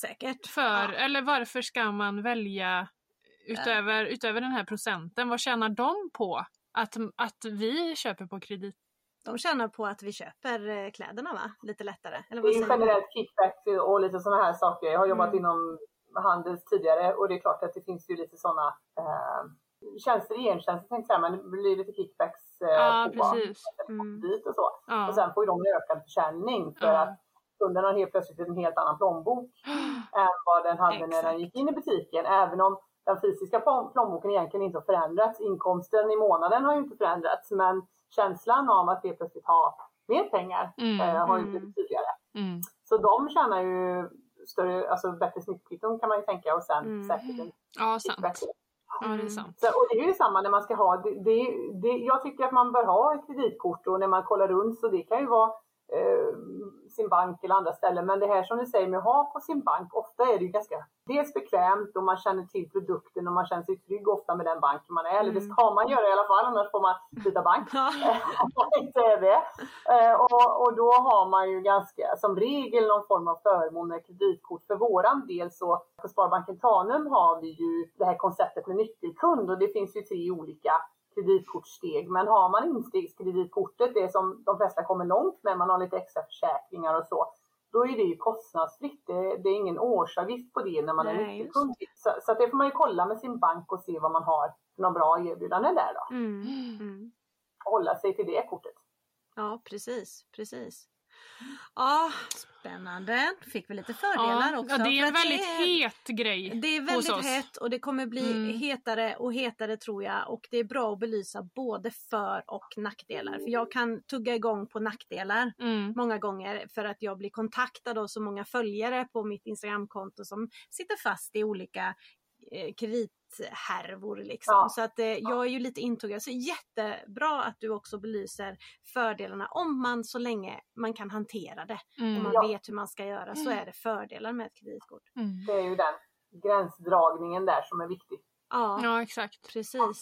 [SPEAKER 1] säkert.
[SPEAKER 2] För,
[SPEAKER 1] Ja.
[SPEAKER 2] Eller varför ska man välja utöver, utöver den här procenten? Vad tjänar de på att, att vi köper på kredit?
[SPEAKER 1] De tjänar på att vi köper eh, kläderna va? Lite lättare. Eller
[SPEAKER 5] Det
[SPEAKER 1] vad
[SPEAKER 5] är ju
[SPEAKER 1] säger du?
[SPEAKER 5] generellt kickback och lite sådana här saker. Jag har jobbat
[SPEAKER 2] Mm.
[SPEAKER 5] inom Handels tidigare och det är klart att det finns ju lite sådana eh, tjänster i gentjänster tänkte jag säga, men det blir lite kickbacks eh,
[SPEAKER 2] Ja,
[SPEAKER 5] på
[SPEAKER 2] precis.
[SPEAKER 1] Mm.
[SPEAKER 5] dit och så. Och
[SPEAKER 2] Ja.
[SPEAKER 5] sen får ju de en ökad försäljning för
[SPEAKER 2] Ja.
[SPEAKER 5] att kunden har helt plötsligt en helt annan plånbok än vad den hade när
[SPEAKER 1] Exakt.
[SPEAKER 5] den gick in i butiken. Även om den fysiska plån- plånboken egentligen inte har förändrats. Inkomsten i månaden har ju inte förändrats men känslan av att helt plötsligt ha mer pengar
[SPEAKER 2] Mm,
[SPEAKER 5] eh, har ju
[SPEAKER 1] mm.
[SPEAKER 5] blivit tydligare.
[SPEAKER 2] Mm.
[SPEAKER 5] Så de tjänar ju större, alltså bättre snittkvitton kan man ju tänka och sen
[SPEAKER 1] Mm.
[SPEAKER 5] säkert en
[SPEAKER 2] ja, sant.
[SPEAKER 5] kickback.
[SPEAKER 2] Ja,
[SPEAKER 6] Mm.
[SPEAKER 2] det är sant.
[SPEAKER 5] Så, och det är ju samma när man ska ha, det, det, det, jag tycker att man bör ha ett kreditkort och när man kollar runt så det kan ju vara eh, sin bank eller andra ställen. Men det här som du säger med att ha på sin bank, ofta är det ju ganska dels bekvämt och man känner till produkten och man känner sig trygg ofta med den banken man är. Eller det ska man göra i alla fall, annars får man byta bank.
[SPEAKER 1] Ja.
[SPEAKER 5] inte är det. Eh, Och, och då har man ju ganska, som regel någon form av förmån med kreditkort. För våran del så på Sparbanken Tanum har vi ju det här konceptet med nyckelkund och det finns ju tre olika kreditkortssteg. Men har man instegskreditkortet, det som de flesta kommer långt med, man har lite extra försäkringar och så, då är det ju kostnadsfritt. Det, det är ingen årsavgift på det när man är
[SPEAKER 6] Nej,
[SPEAKER 5] nyckelkund. Så, så att det får man ju kolla med sin bank och se vad man har för några bra erbjudanden där då.
[SPEAKER 6] Mm. Mm.
[SPEAKER 5] Och hålla sig till det kortet.
[SPEAKER 6] Ja, precis, precis. Ja, spännande. Fick vi lite fördelar också.
[SPEAKER 2] ja, det är
[SPEAKER 6] för
[SPEAKER 2] en
[SPEAKER 6] att
[SPEAKER 2] väldigt
[SPEAKER 6] är-
[SPEAKER 2] het grej
[SPEAKER 6] Det är
[SPEAKER 2] hos
[SPEAKER 6] väldigt
[SPEAKER 2] oss.
[SPEAKER 6] hett och det kommer bli
[SPEAKER 2] Mm.
[SPEAKER 6] hetare och hetare tror jag och det är bra att belysa både för och nackdelar. För jag kan tugga igång på nackdelar
[SPEAKER 2] Mm.
[SPEAKER 6] många gånger för att jag blir kontaktad av så många följare på mitt Instagramkonto som sitter fast i olika eh, kredithärvor liksom.
[SPEAKER 5] Ja.
[SPEAKER 6] Så att eh, jag är ju lite intuggad. Så jättebra att du också belyser fördelarna om man så länge man kan hantera det. Om
[SPEAKER 2] Mm.
[SPEAKER 6] man
[SPEAKER 5] Ja.
[SPEAKER 6] vet hur man ska göra så är det fördelar med ett kreditkort.
[SPEAKER 2] Mm.
[SPEAKER 5] Det är ju den gränsdragningen där som är viktig.
[SPEAKER 6] Ja.
[SPEAKER 2] Ja, exakt.
[SPEAKER 6] Precis.
[SPEAKER 2] Mm.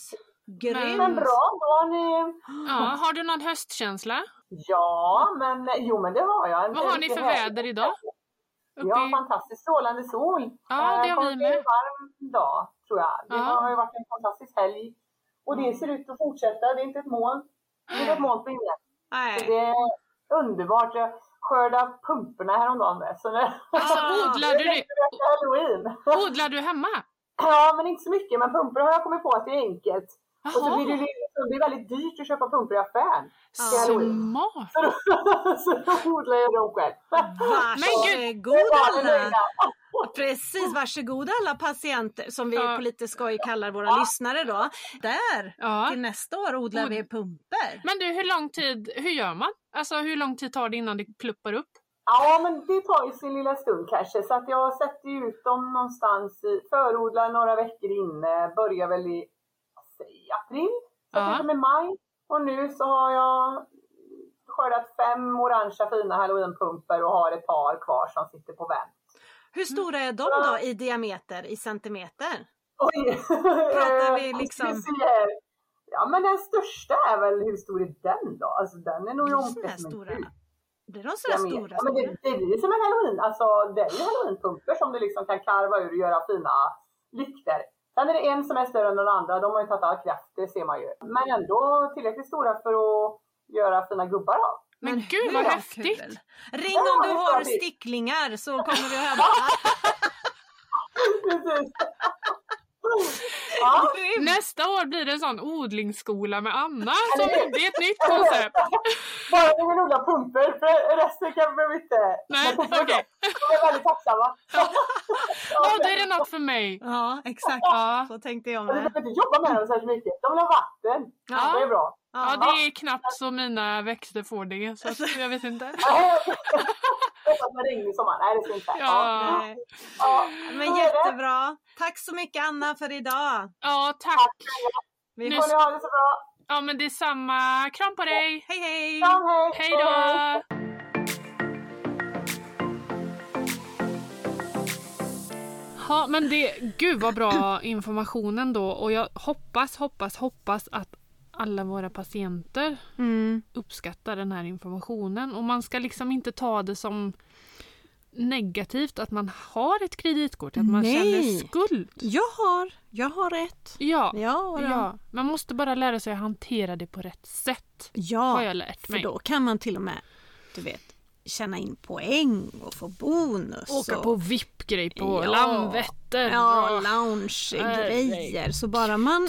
[SPEAKER 6] Grymt!
[SPEAKER 5] Men bra, då har ni...
[SPEAKER 2] Ja, har du någon höstkänsla?
[SPEAKER 5] Ja, men jo men det har jag.
[SPEAKER 2] Vad har ni för väder idag? Uppe
[SPEAKER 5] Ja,
[SPEAKER 2] i-
[SPEAKER 5] fantastiskt strålande sol.
[SPEAKER 2] Ja, det har
[SPEAKER 5] Eh, kommer
[SPEAKER 2] vi
[SPEAKER 5] bli en
[SPEAKER 2] med.
[SPEAKER 5] varm dag, tror jag. Det
[SPEAKER 2] Ja.
[SPEAKER 5] har ju varit en fantastisk helg. Och det ser ut att fortsätta, det är inte ett moln. Det är inte ett moln på himlen. Så
[SPEAKER 6] Nej.
[SPEAKER 5] Det är underbart. Jag skördade pumporna häromdagen. Med, så nu...
[SPEAKER 2] Alltså, odlar du det?
[SPEAKER 5] Det är halloween.
[SPEAKER 2] Odlar du hemma?
[SPEAKER 5] Ja, men inte så mycket. Men pumpor har jag kommit på att det är enkelt. Och så
[SPEAKER 2] Jaha,
[SPEAKER 5] blir det, så blir det väldigt dyrt att köpa pumpor i affären.
[SPEAKER 2] smart!
[SPEAKER 5] så då odlar jag dem själv.
[SPEAKER 6] Varsågod
[SPEAKER 5] Barnen är
[SPEAKER 6] eh, alla!
[SPEAKER 5] nöjda.
[SPEAKER 6] Precis, varsågod alla patienter som vi
[SPEAKER 2] Ja.
[SPEAKER 6] på lite skoj kallar våra lyssnare då. Där!
[SPEAKER 2] Ja.
[SPEAKER 6] Till nästa år odlar vi pumper.
[SPEAKER 2] Men du, hur lång tid, hur gör man? Alltså hur lång tid tar det innan det pluppar upp?
[SPEAKER 5] Ja, men det tar ju sin lilla stund kanske. Så att jag sätter ju ut dem någonstans, i, förodlar några veckor inne, börjar väl i vad säger jag, april, så
[SPEAKER 2] Ja.
[SPEAKER 5] att det med maj. Och nu så har jag skördat fem orangea fina halloweenpumper och har ett par kvar som sitter på vänt.
[SPEAKER 6] Hur stora är de då i diameter, i centimeter?
[SPEAKER 5] Oj!
[SPEAKER 6] Pratar vi liksom-
[SPEAKER 5] Vi ser. Ja, men den största är väl, hur stor är den då? Alltså den är nog i
[SPEAKER 6] Blir de
[SPEAKER 5] omkrets
[SPEAKER 6] sådär
[SPEAKER 5] om en
[SPEAKER 6] stora?
[SPEAKER 5] hus.
[SPEAKER 6] Blir de
[SPEAKER 5] Jag
[SPEAKER 6] sådär
[SPEAKER 5] vet.
[SPEAKER 6] stora?
[SPEAKER 5] Ja, men det,
[SPEAKER 6] stora?
[SPEAKER 5] det blir som en halloween. Alltså, det är ju halloweenpumpor som du liksom kan karva ur och göra fina lyktor. Sen är det en som är större än den andra. De har ju tagit all kraft, det ser man ju. Men ändå tillräckligt stora för att göra fina gubbar av.
[SPEAKER 2] Men, gud
[SPEAKER 6] hur
[SPEAKER 2] vad
[SPEAKER 6] kul?
[SPEAKER 2] häftigt!
[SPEAKER 6] Ring om du
[SPEAKER 5] Ja,
[SPEAKER 6] har
[SPEAKER 5] det-
[SPEAKER 6] sticklingar så kommer vi att höra.
[SPEAKER 5] Precis. ja,
[SPEAKER 2] Nästa år blir det en sån odlingsskola med Anna. Som,
[SPEAKER 5] Eller hur?
[SPEAKER 2] det är ett nytt koncept.
[SPEAKER 5] bara du vill odla pumpor, för resten kan vi inte.
[SPEAKER 2] Nej,
[SPEAKER 5] Men pumpor
[SPEAKER 2] okej.
[SPEAKER 5] då. De är väldigt tacksamma.
[SPEAKER 2] Ja, då är det något för mig.
[SPEAKER 6] Ja, exakt.
[SPEAKER 2] Ja.
[SPEAKER 6] Så tänkte jag
[SPEAKER 5] Och du
[SPEAKER 6] med.
[SPEAKER 5] behöver inte jobba med dem särskilt mycket. De vill ha vatten.
[SPEAKER 2] Ja.
[SPEAKER 5] Det är bra.
[SPEAKER 2] Ja, det är knappt så mina växter får det. Så att, jag vet inte.
[SPEAKER 5] Hoppas det regn i sommar. Nej, det ska inte.
[SPEAKER 2] Ja,
[SPEAKER 6] Nej.
[SPEAKER 5] Ja.
[SPEAKER 6] Men jättebra! Tack så mycket Anna för idag!
[SPEAKER 2] ja tack.
[SPEAKER 6] Vi
[SPEAKER 2] Nu
[SPEAKER 5] Får ni ha det så bra.
[SPEAKER 2] Ja, men det är samma. Kram på dig!
[SPEAKER 6] Hej hej!
[SPEAKER 5] Kram, hej!
[SPEAKER 2] Hej då! Ja men det, gud vad bra informationen då och jag hoppas, hoppas, hoppas att alla våra patienter
[SPEAKER 1] Mm.
[SPEAKER 2] uppskattar den här informationen och man ska liksom inte ta det som negativt att man har ett kreditkort, att man
[SPEAKER 1] Nej.
[SPEAKER 2] känner skuld.
[SPEAKER 1] Jag har, jag har rätt.
[SPEAKER 2] Ja,
[SPEAKER 1] Ja, då.
[SPEAKER 2] ja, man måste bara lära sig att hantera det på rätt sätt. Har
[SPEAKER 1] ja
[SPEAKER 2] jag lärt
[SPEAKER 1] för
[SPEAKER 2] mig.
[SPEAKER 1] då kan man till och med, du vet, tjäna in poäng och få bonus.
[SPEAKER 2] Åka
[SPEAKER 1] och...
[SPEAKER 2] på VIP-grej på
[SPEAKER 1] Ja.
[SPEAKER 2] Landvetter.
[SPEAKER 1] Ja,
[SPEAKER 2] Ja,
[SPEAKER 1] lounge-grejer. Så bara man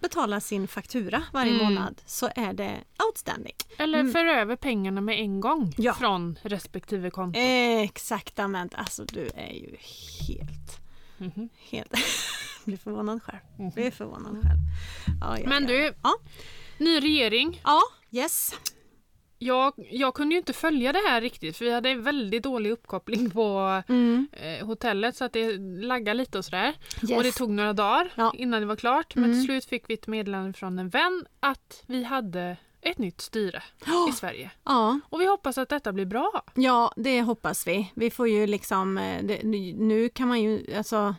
[SPEAKER 1] betalar sin faktura varje
[SPEAKER 2] Mm.
[SPEAKER 1] månad så är det outstanding.
[SPEAKER 2] Eller för över pengarna med en gång
[SPEAKER 1] Mm. Ja. Eh,
[SPEAKER 2] från respektive konto.
[SPEAKER 1] Exaktament. Alltså du är ju helt...
[SPEAKER 2] Mhm.
[SPEAKER 1] helt blir förvånad själv. Blir förvånad själv. Ja, ja,
[SPEAKER 2] Men
[SPEAKER 1] ja.
[SPEAKER 2] du,
[SPEAKER 1] Ja.
[SPEAKER 2] ny regering.
[SPEAKER 1] Ja, yes.
[SPEAKER 2] Jag, jag kunde ju inte följa det här riktigt för vi hade väldigt dålig uppkoppling på
[SPEAKER 1] Mm.
[SPEAKER 2] eh, hotellet så att det laggade lite och sådär.
[SPEAKER 1] Yes.
[SPEAKER 2] Och det tog några dagar
[SPEAKER 1] Ja. Mm.
[SPEAKER 2] innan det var klart. Men till slut fick vi ett meddelande från en vän att vi hade ett nytt styre i Sverige.
[SPEAKER 1] Ja,
[SPEAKER 2] Och vi hoppas att detta blir bra.
[SPEAKER 1] ja, det hoppas vi. Vi får ju liksom... eh, Det, nu kan man ju... Alltså,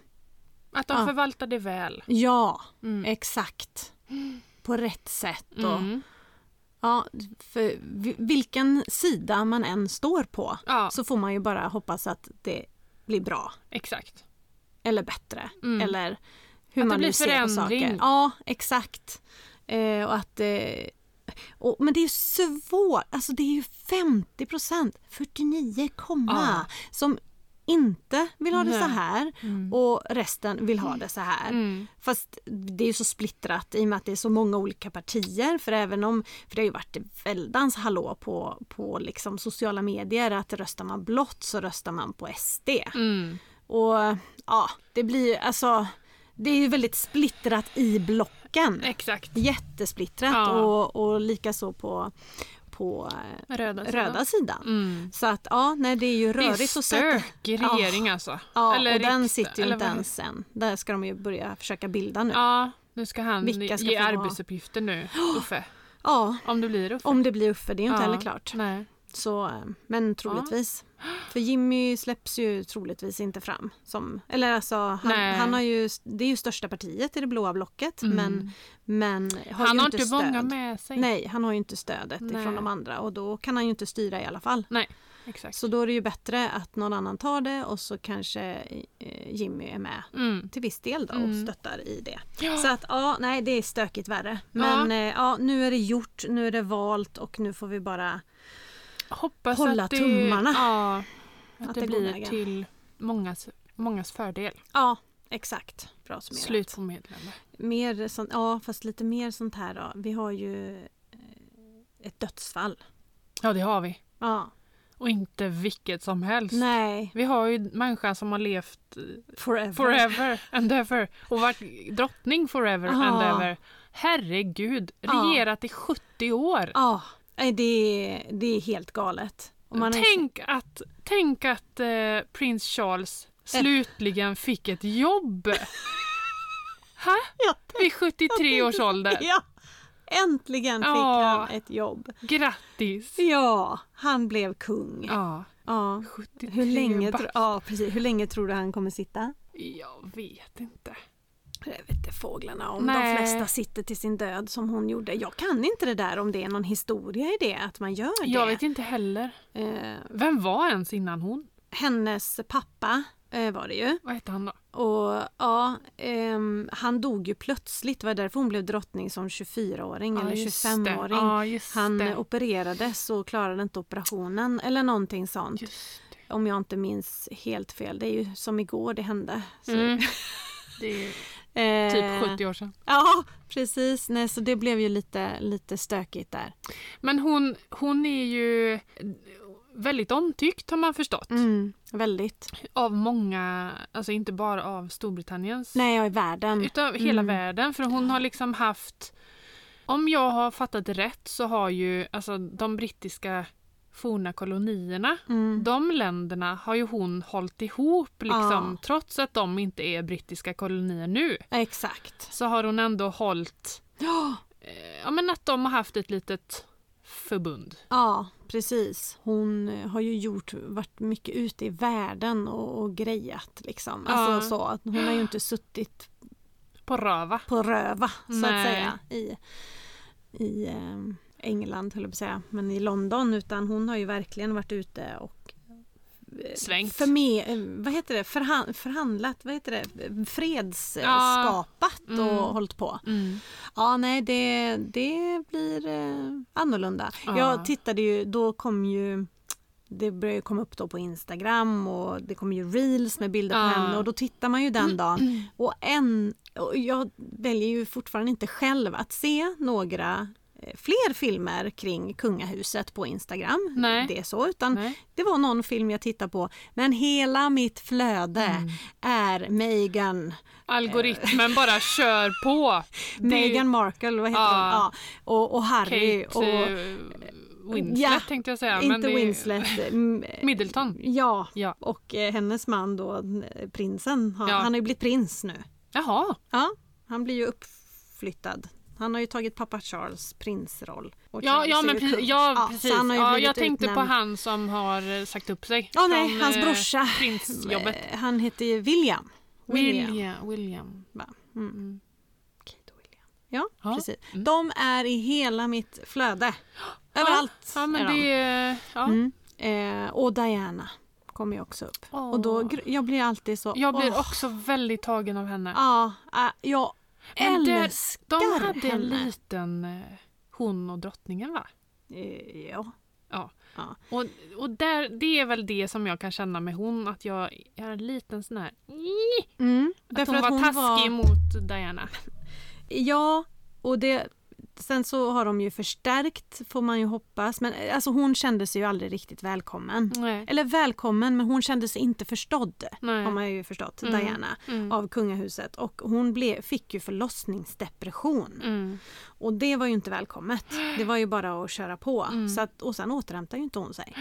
[SPEAKER 2] Att de
[SPEAKER 1] Ja.
[SPEAKER 2] förvaltar det väl.
[SPEAKER 1] ja,
[SPEAKER 2] Mm.
[SPEAKER 1] exakt. På rätt sätt. Och,
[SPEAKER 2] Mm.
[SPEAKER 1] ja, för vi- vilken sida man än står på
[SPEAKER 2] Ja,
[SPEAKER 1] så får man ju bara hoppas att det blir bra.
[SPEAKER 2] exakt.
[SPEAKER 1] eller bättre.
[SPEAKER 2] Mm.
[SPEAKER 1] Eller hur
[SPEAKER 2] Att det
[SPEAKER 1] man
[SPEAKER 2] blir
[SPEAKER 1] nu ser på saker.
[SPEAKER 2] förändring.
[SPEAKER 1] Ja, exakt. Eh, och att eh, Och, men det är ju svårt, alltså det är ju 50 procent, 49, komma, som inte vill ha det så
[SPEAKER 2] Nej.
[SPEAKER 1] här och resten vill ha det så här.
[SPEAKER 2] Mm.
[SPEAKER 1] Fast det är ju så splittrat i och med att det är så många olika partier. För även om, för det har ju varit väldans hallå på, på liksom sociala medier att röstar man blått så röstar man på SD.
[SPEAKER 2] Mm.
[SPEAKER 1] Och ja, det blir ju alltså, det är ju väldigt splittrat i blocken.
[SPEAKER 2] Exakt.
[SPEAKER 1] Jättesplittrat
[SPEAKER 2] Ja.
[SPEAKER 1] och, och likaså på, på eh,
[SPEAKER 2] Röda, sidan.
[SPEAKER 1] röda sidan.
[SPEAKER 2] Mm.
[SPEAKER 1] Så att ja, nej det är ju
[SPEAKER 2] Det är
[SPEAKER 1] rörigt att sätta
[SPEAKER 2] stökig
[SPEAKER 1] Ja.
[SPEAKER 2] regering alltså.
[SPEAKER 1] Ja,
[SPEAKER 2] Eller
[SPEAKER 1] och den
[SPEAKER 2] riksdag,
[SPEAKER 1] sitter ju
[SPEAKER 2] eller
[SPEAKER 1] inte
[SPEAKER 2] vad-
[SPEAKER 1] ens än. Där ska de ju börja försöka bilda nu. Ja,
[SPEAKER 2] Ja, nu ska han
[SPEAKER 1] Vilka ska
[SPEAKER 2] ge
[SPEAKER 1] få vara-
[SPEAKER 2] arbetsuppgifter nu, Uffe. Om du blir Uffe.
[SPEAKER 1] om det blir Uffe, det är ju inte
[SPEAKER 2] Ja,
[SPEAKER 1] heller klart.
[SPEAKER 2] Nej.
[SPEAKER 1] Så, eh, men troligtvis. För Jimmy släpps ju troligtvis inte fram. Som, eller alltså, han,
[SPEAKER 2] Nej. Mm.
[SPEAKER 1] han har ju, det är ju största partiet i det blåa blocket men, men har
[SPEAKER 2] Han
[SPEAKER 1] ju
[SPEAKER 2] har inte
[SPEAKER 1] stöd.
[SPEAKER 2] många med sig.
[SPEAKER 1] Nej, han har ju inte stödet
[SPEAKER 2] Nej.
[SPEAKER 1] från de andra och då kan han ju inte styra i alla fall.
[SPEAKER 2] Nej, exakt.
[SPEAKER 1] Så då är det ju bättre att någon annan tar det och så kanske eh, Jimmy är med
[SPEAKER 2] Mm.
[SPEAKER 1] till viss del då och
[SPEAKER 2] Mm.
[SPEAKER 1] stöttar i det.
[SPEAKER 2] Ja.
[SPEAKER 1] Så att ja, nej det är stökigt
[SPEAKER 2] Ah.
[SPEAKER 1] värre. Men ja. Eh, ja, nu är det gjort, nu är det valt och nu får vi bara
[SPEAKER 2] Hoppas
[SPEAKER 1] hålla
[SPEAKER 2] att det,
[SPEAKER 1] tummarna.
[SPEAKER 2] Ja, att,
[SPEAKER 1] Att
[SPEAKER 2] det,
[SPEAKER 1] det går
[SPEAKER 2] blir
[SPEAKER 1] vägen.
[SPEAKER 2] till mångas, mångas fördel.
[SPEAKER 1] Ja, exakt. Bra summerat.
[SPEAKER 2] Slut på medlemmar.
[SPEAKER 1] Mer sånt, ja, fast lite mer sånt här då. Vi har ju eh, ett dödsfall.
[SPEAKER 2] Ja, det har vi.
[SPEAKER 1] Ja,
[SPEAKER 2] Och inte vilket som helst.
[SPEAKER 1] nej.
[SPEAKER 2] Vi har ju människan som har levt
[SPEAKER 1] Forever.
[SPEAKER 2] forever and ever och varit drottning forever
[SPEAKER 1] Ja.
[SPEAKER 2] and ever. Herregud,
[SPEAKER 1] Ja.
[SPEAKER 2] regerat i 70 år.
[SPEAKER 1] Ja, nej, det, är- det är helt galet. Ah, Och man har ju-
[SPEAKER 2] Tänk att, tänk att eh, prins Charles
[SPEAKER 1] Eh.
[SPEAKER 2] slutligen fick ett jobb. Ha?
[SPEAKER 1] Ja,
[SPEAKER 2] Vid 73 års ålder.
[SPEAKER 1] ja, äntligen fick
[SPEAKER 2] Ja.
[SPEAKER 1] han ett jobb.
[SPEAKER 2] Grattis!
[SPEAKER 1] Ja, han blev kung. Ja.
[SPEAKER 2] Ja, 73
[SPEAKER 1] Hur, länge,
[SPEAKER 2] back.
[SPEAKER 1] tro- ja, precis. Hur länge tror du han kommer sitta?
[SPEAKER 2] Jag vet inte.
[SPEAKER 1] Jag vet inte fåglarna om
[SPEAKER 2] Nej.
[SPEAKER 1] de flesta sitter till sin död som hon gjorde. Jag kan inte det där om det är någon historia i det att man gör det.
[SPEAKER 2] Jag vet inte heller.
[SPEAKER 1] Eh,
[SPEAKER 2] Vem var ens innan hon?
[SPEAKER 1] hennes pappa eh, var det ju.
[SPEAKER 2] Vad hette han då?
[SPEAKER 1] Och ja, ehm, han dog ju plötsligt. Det var därför hon blev drottning som 24-åring
[SPEAKER 2] Ja,
[SPEAKER 1] eller
[SPEAKER 2] just det.
[SPEAKER 1] 25-åring.
[SPEAKER 2] Ja, just
[SPEAKER 1] han
[SPEAKER 2] det.
[SPEAKER 1] eh, opererades och klarade inte operationen eller någonting sånt.
[SPEAKER 2] Just det.
[SPEAKER 1] Om jag inte minns helt fel. Det är ju som igår det hände. Så,
[SPEAKER 2] Mm. Det är
[SPEAKER 1] eh,
[SPEAKER 2] typ 70 år sedan.
[SPEAKER 1] Ja, precis. Nej, så det blev ju lite, lite stökigt där.
[SPEAKER 2] Men hon, hon är ju väldigt omtyckt har man förstått.
[SPEAKER 1] Mm, väldigt.
[SPEAKER 2] Av många, alltså inte bara av Storbritanniens.
[SPEAKER 1] Nej, Mm. jag är världen.
[SPEAKER 2] Utav hela världen. För hon har liksom haft... Om jag har fattat det rätt så har ju alltså, de brittiska forna kolonierna,
[SPEAKER 1] Mm.
[SPEAKER 2] de länderna har ju hon hållit ihop liksom.
[SPEAKER 1] Ja.
[SPEAKER 2] Trots att de inte är brittiska kolonier nu
[SPEAKER 1] Exakt.
[SPEAKER 2] så har hon ändå hållit...
[SPEAKER 1] Ja,
[SPEAKER 2] eh, Ja men att de har haft ett litet förbund.
[SPEAKER 1] ja, precis. Hon eh, har ju gjort, varit mycket ute i världen och, och grejat liksom.
[SPEAKER 2] Ja.
[SPEAKER 1] Alltså så att hon har ju inte suttit
[SPEAKER 2] På Rava.
[SPEAKER 1] på röva så att
[SPEAKER 2] Nej.
[SPEAKER 1] säga i, i eh, England höll jag på att säga, men i London utan hon har ju verkligen varit ute och eh,
[SPEAKER 2] Svängt.
[SPEAKER 1] Förme, eh, vad heter det? Förhan, förhandlat, vad heter det? Fredsskapat
[SPEAKER 2] Ja. Mm.
[SPEAKER 1] och hållit på. Ja, nej, det, det blir eh, annorlunda.
[SPEAKER 2] Ja.
[SPEAKER 1] Jag tittade ju, då kom ju det började ju komma upp då på Instagram och det kom ju reels med bilder på
[SPEAKER 2] Ja. Mm.
[SPEAKER 1] henne och då tittar man ju den dagen. Och en, och jag väljer ju fortfarande inte själv att se några eh, fler filmer kring kungahuset på Instagram.
[SPEAKER 2] Nej.
[SPEAKER 1] Det är så, utan
[SPEAKER 2] Nej.
[SPEAKER 1] det var någon film jag tittade på. Men hela mitt flöde
[SPEAKER 2] Mm.
[SPEAKER 1] är Meghan
[SPEAKER 2] Algoritmen bara kör på. Det är ju
[SPEAKER 1] Meghan Markle, vad heter
[SPEAKER 2] Ja.
[SPEAKER 1] hon? Ja. Och, och Harry
[SPEAKER 2] Kate
[SPEAKER 1] och...
[SPEAKER 2] eh, Winslet
[SPEAKER 1] Ja,
[SPEAKER 2] tänkte jag säga. men
[SPEAKER 1] inte
[SPEAKER 2] det är-
[SPEAKER 1] Winslet. mm, eh,
[SPEAKER 2] Middleton.
[SPEAKER 1] Ja.
[SPEAKER 2] Ja.
[SPEAKER 1] Och eh, hennes man då, eh, prinsen, han,
[SPEAKER 2] Ja.
[SPEAKER 1] han har ju blivit prins nu.
[SPEAKER 2] Jaha.
[SPEAKER 1] Ja, han blir ju uppflyttad. Han har ju tagit pappa Charles prinsroll. Och
[SPEAKER 2] Ja,
[SPEAKER 1] Charles
[SPEAKER 2] ja,
[SPEAKER 1] är
[SPEAKER 2] men
[SPEAKER 1] ju
[SPEAKER 2] precis.
[SPEAKER 1] kung.
[SPEAKER 2] Ja,
[SPEAKER 1] så
[SPEAKER 2] precis.
[SPEAKER 1] han har ju
[SPEAKER 2] ja,
[SPEAKER 1] blivit
[SPEAKER 2] jag tänkte på
[SPEAKER 1] utnämnd.
[SPEAKER 2] han som har eh, sagt upp sig.
[SPEAKER 1] Ja, nej,
[SPEAKER 2] från,
[SPEAKER 1] hans
[SPEAKER 2] eh,
[SPEAKER 1] brorsa.
[SPEAKER 2] Prinsjobbet.
[SPEAKER 1] Eh, Han heter ju William.
[SPEAKER 2] William. William.
[SPEAKER 1] va? Mm.
[SPEAKER 2] Mm.
[SPEAKER 1] Kate och William. Ja,
[SPEAKER 2] Ja,
[SPEAKER 1] precis.
[SPEAKER 2] mm.
[SPEAKER 1] De är i hela mitt flöde. Överallt
[SPEAKER 2] Ja, men
[SPEAKER 1] är de.
[SPEAKER 2] det... är- Ja.
[SPEAKER 1] Mm. Eh, och Diana kommer ju också upp.
[SPEAKER 2] Åh.
[SPEAKER 1] Och då, gr- jag blir alltid så...
[SPEAKER 2] Jag blir
[SPEAKER 1] åh.
[SPEAKER 2] också väldigt tagen av henne.
[SPEAKER 1] Ja, ah, jag
[SPEAKER 2] Men det-
[SPEAKER 1] älskar
[SPEAKER 2] De hade en
[SPEAKER 1] henne.
[SPEAKER 2] liten eh, hon och drottningen va?
[SPEAKER 1] Eh, Ja.
[SPEAKER 2] Ja.
[SPEAKER 1] Ja.
[SPEAKER 2] Och, och där, det är väl det som jag kan känna med hon, att jag är en liten sån här...
[SPEAKER 1] Mm,
[SPEAKER 2] Att
[SPEAKER 1] därför
[SPEAKER 2] hon var taskig mot Diana.
[SPEAKER 1] Ja, och det... Sen så har de ju förstärkt, får man ju hoppas. Men eh, alltså hon kände sig ju aldrig riktigt välkommen.
[SPEAKER 2] Nej.
[SPEAKER 1] Eller välkommen, men hon kände sig inte förstådd.
[SPEAKER 2] Nej.
[SPEAKER 1] Har man ju förstått,
[SPEAKER 2] Mm.
[SPEAKER 1] Diana.
[SPEAKER 2] Mm.
[SPEAKER 1] Av kungahuset. Och hon ble, fick ju förlossningsdepression.
[SPEAKER 2] Mm.
[SPEAKER 1] Och det var ju inte välkommet. Det var ju bara att köra på.
[SPEAKER 2] Mm.
[SPEAKER 1] Så att, och sen återhämtade ju inte hon sig.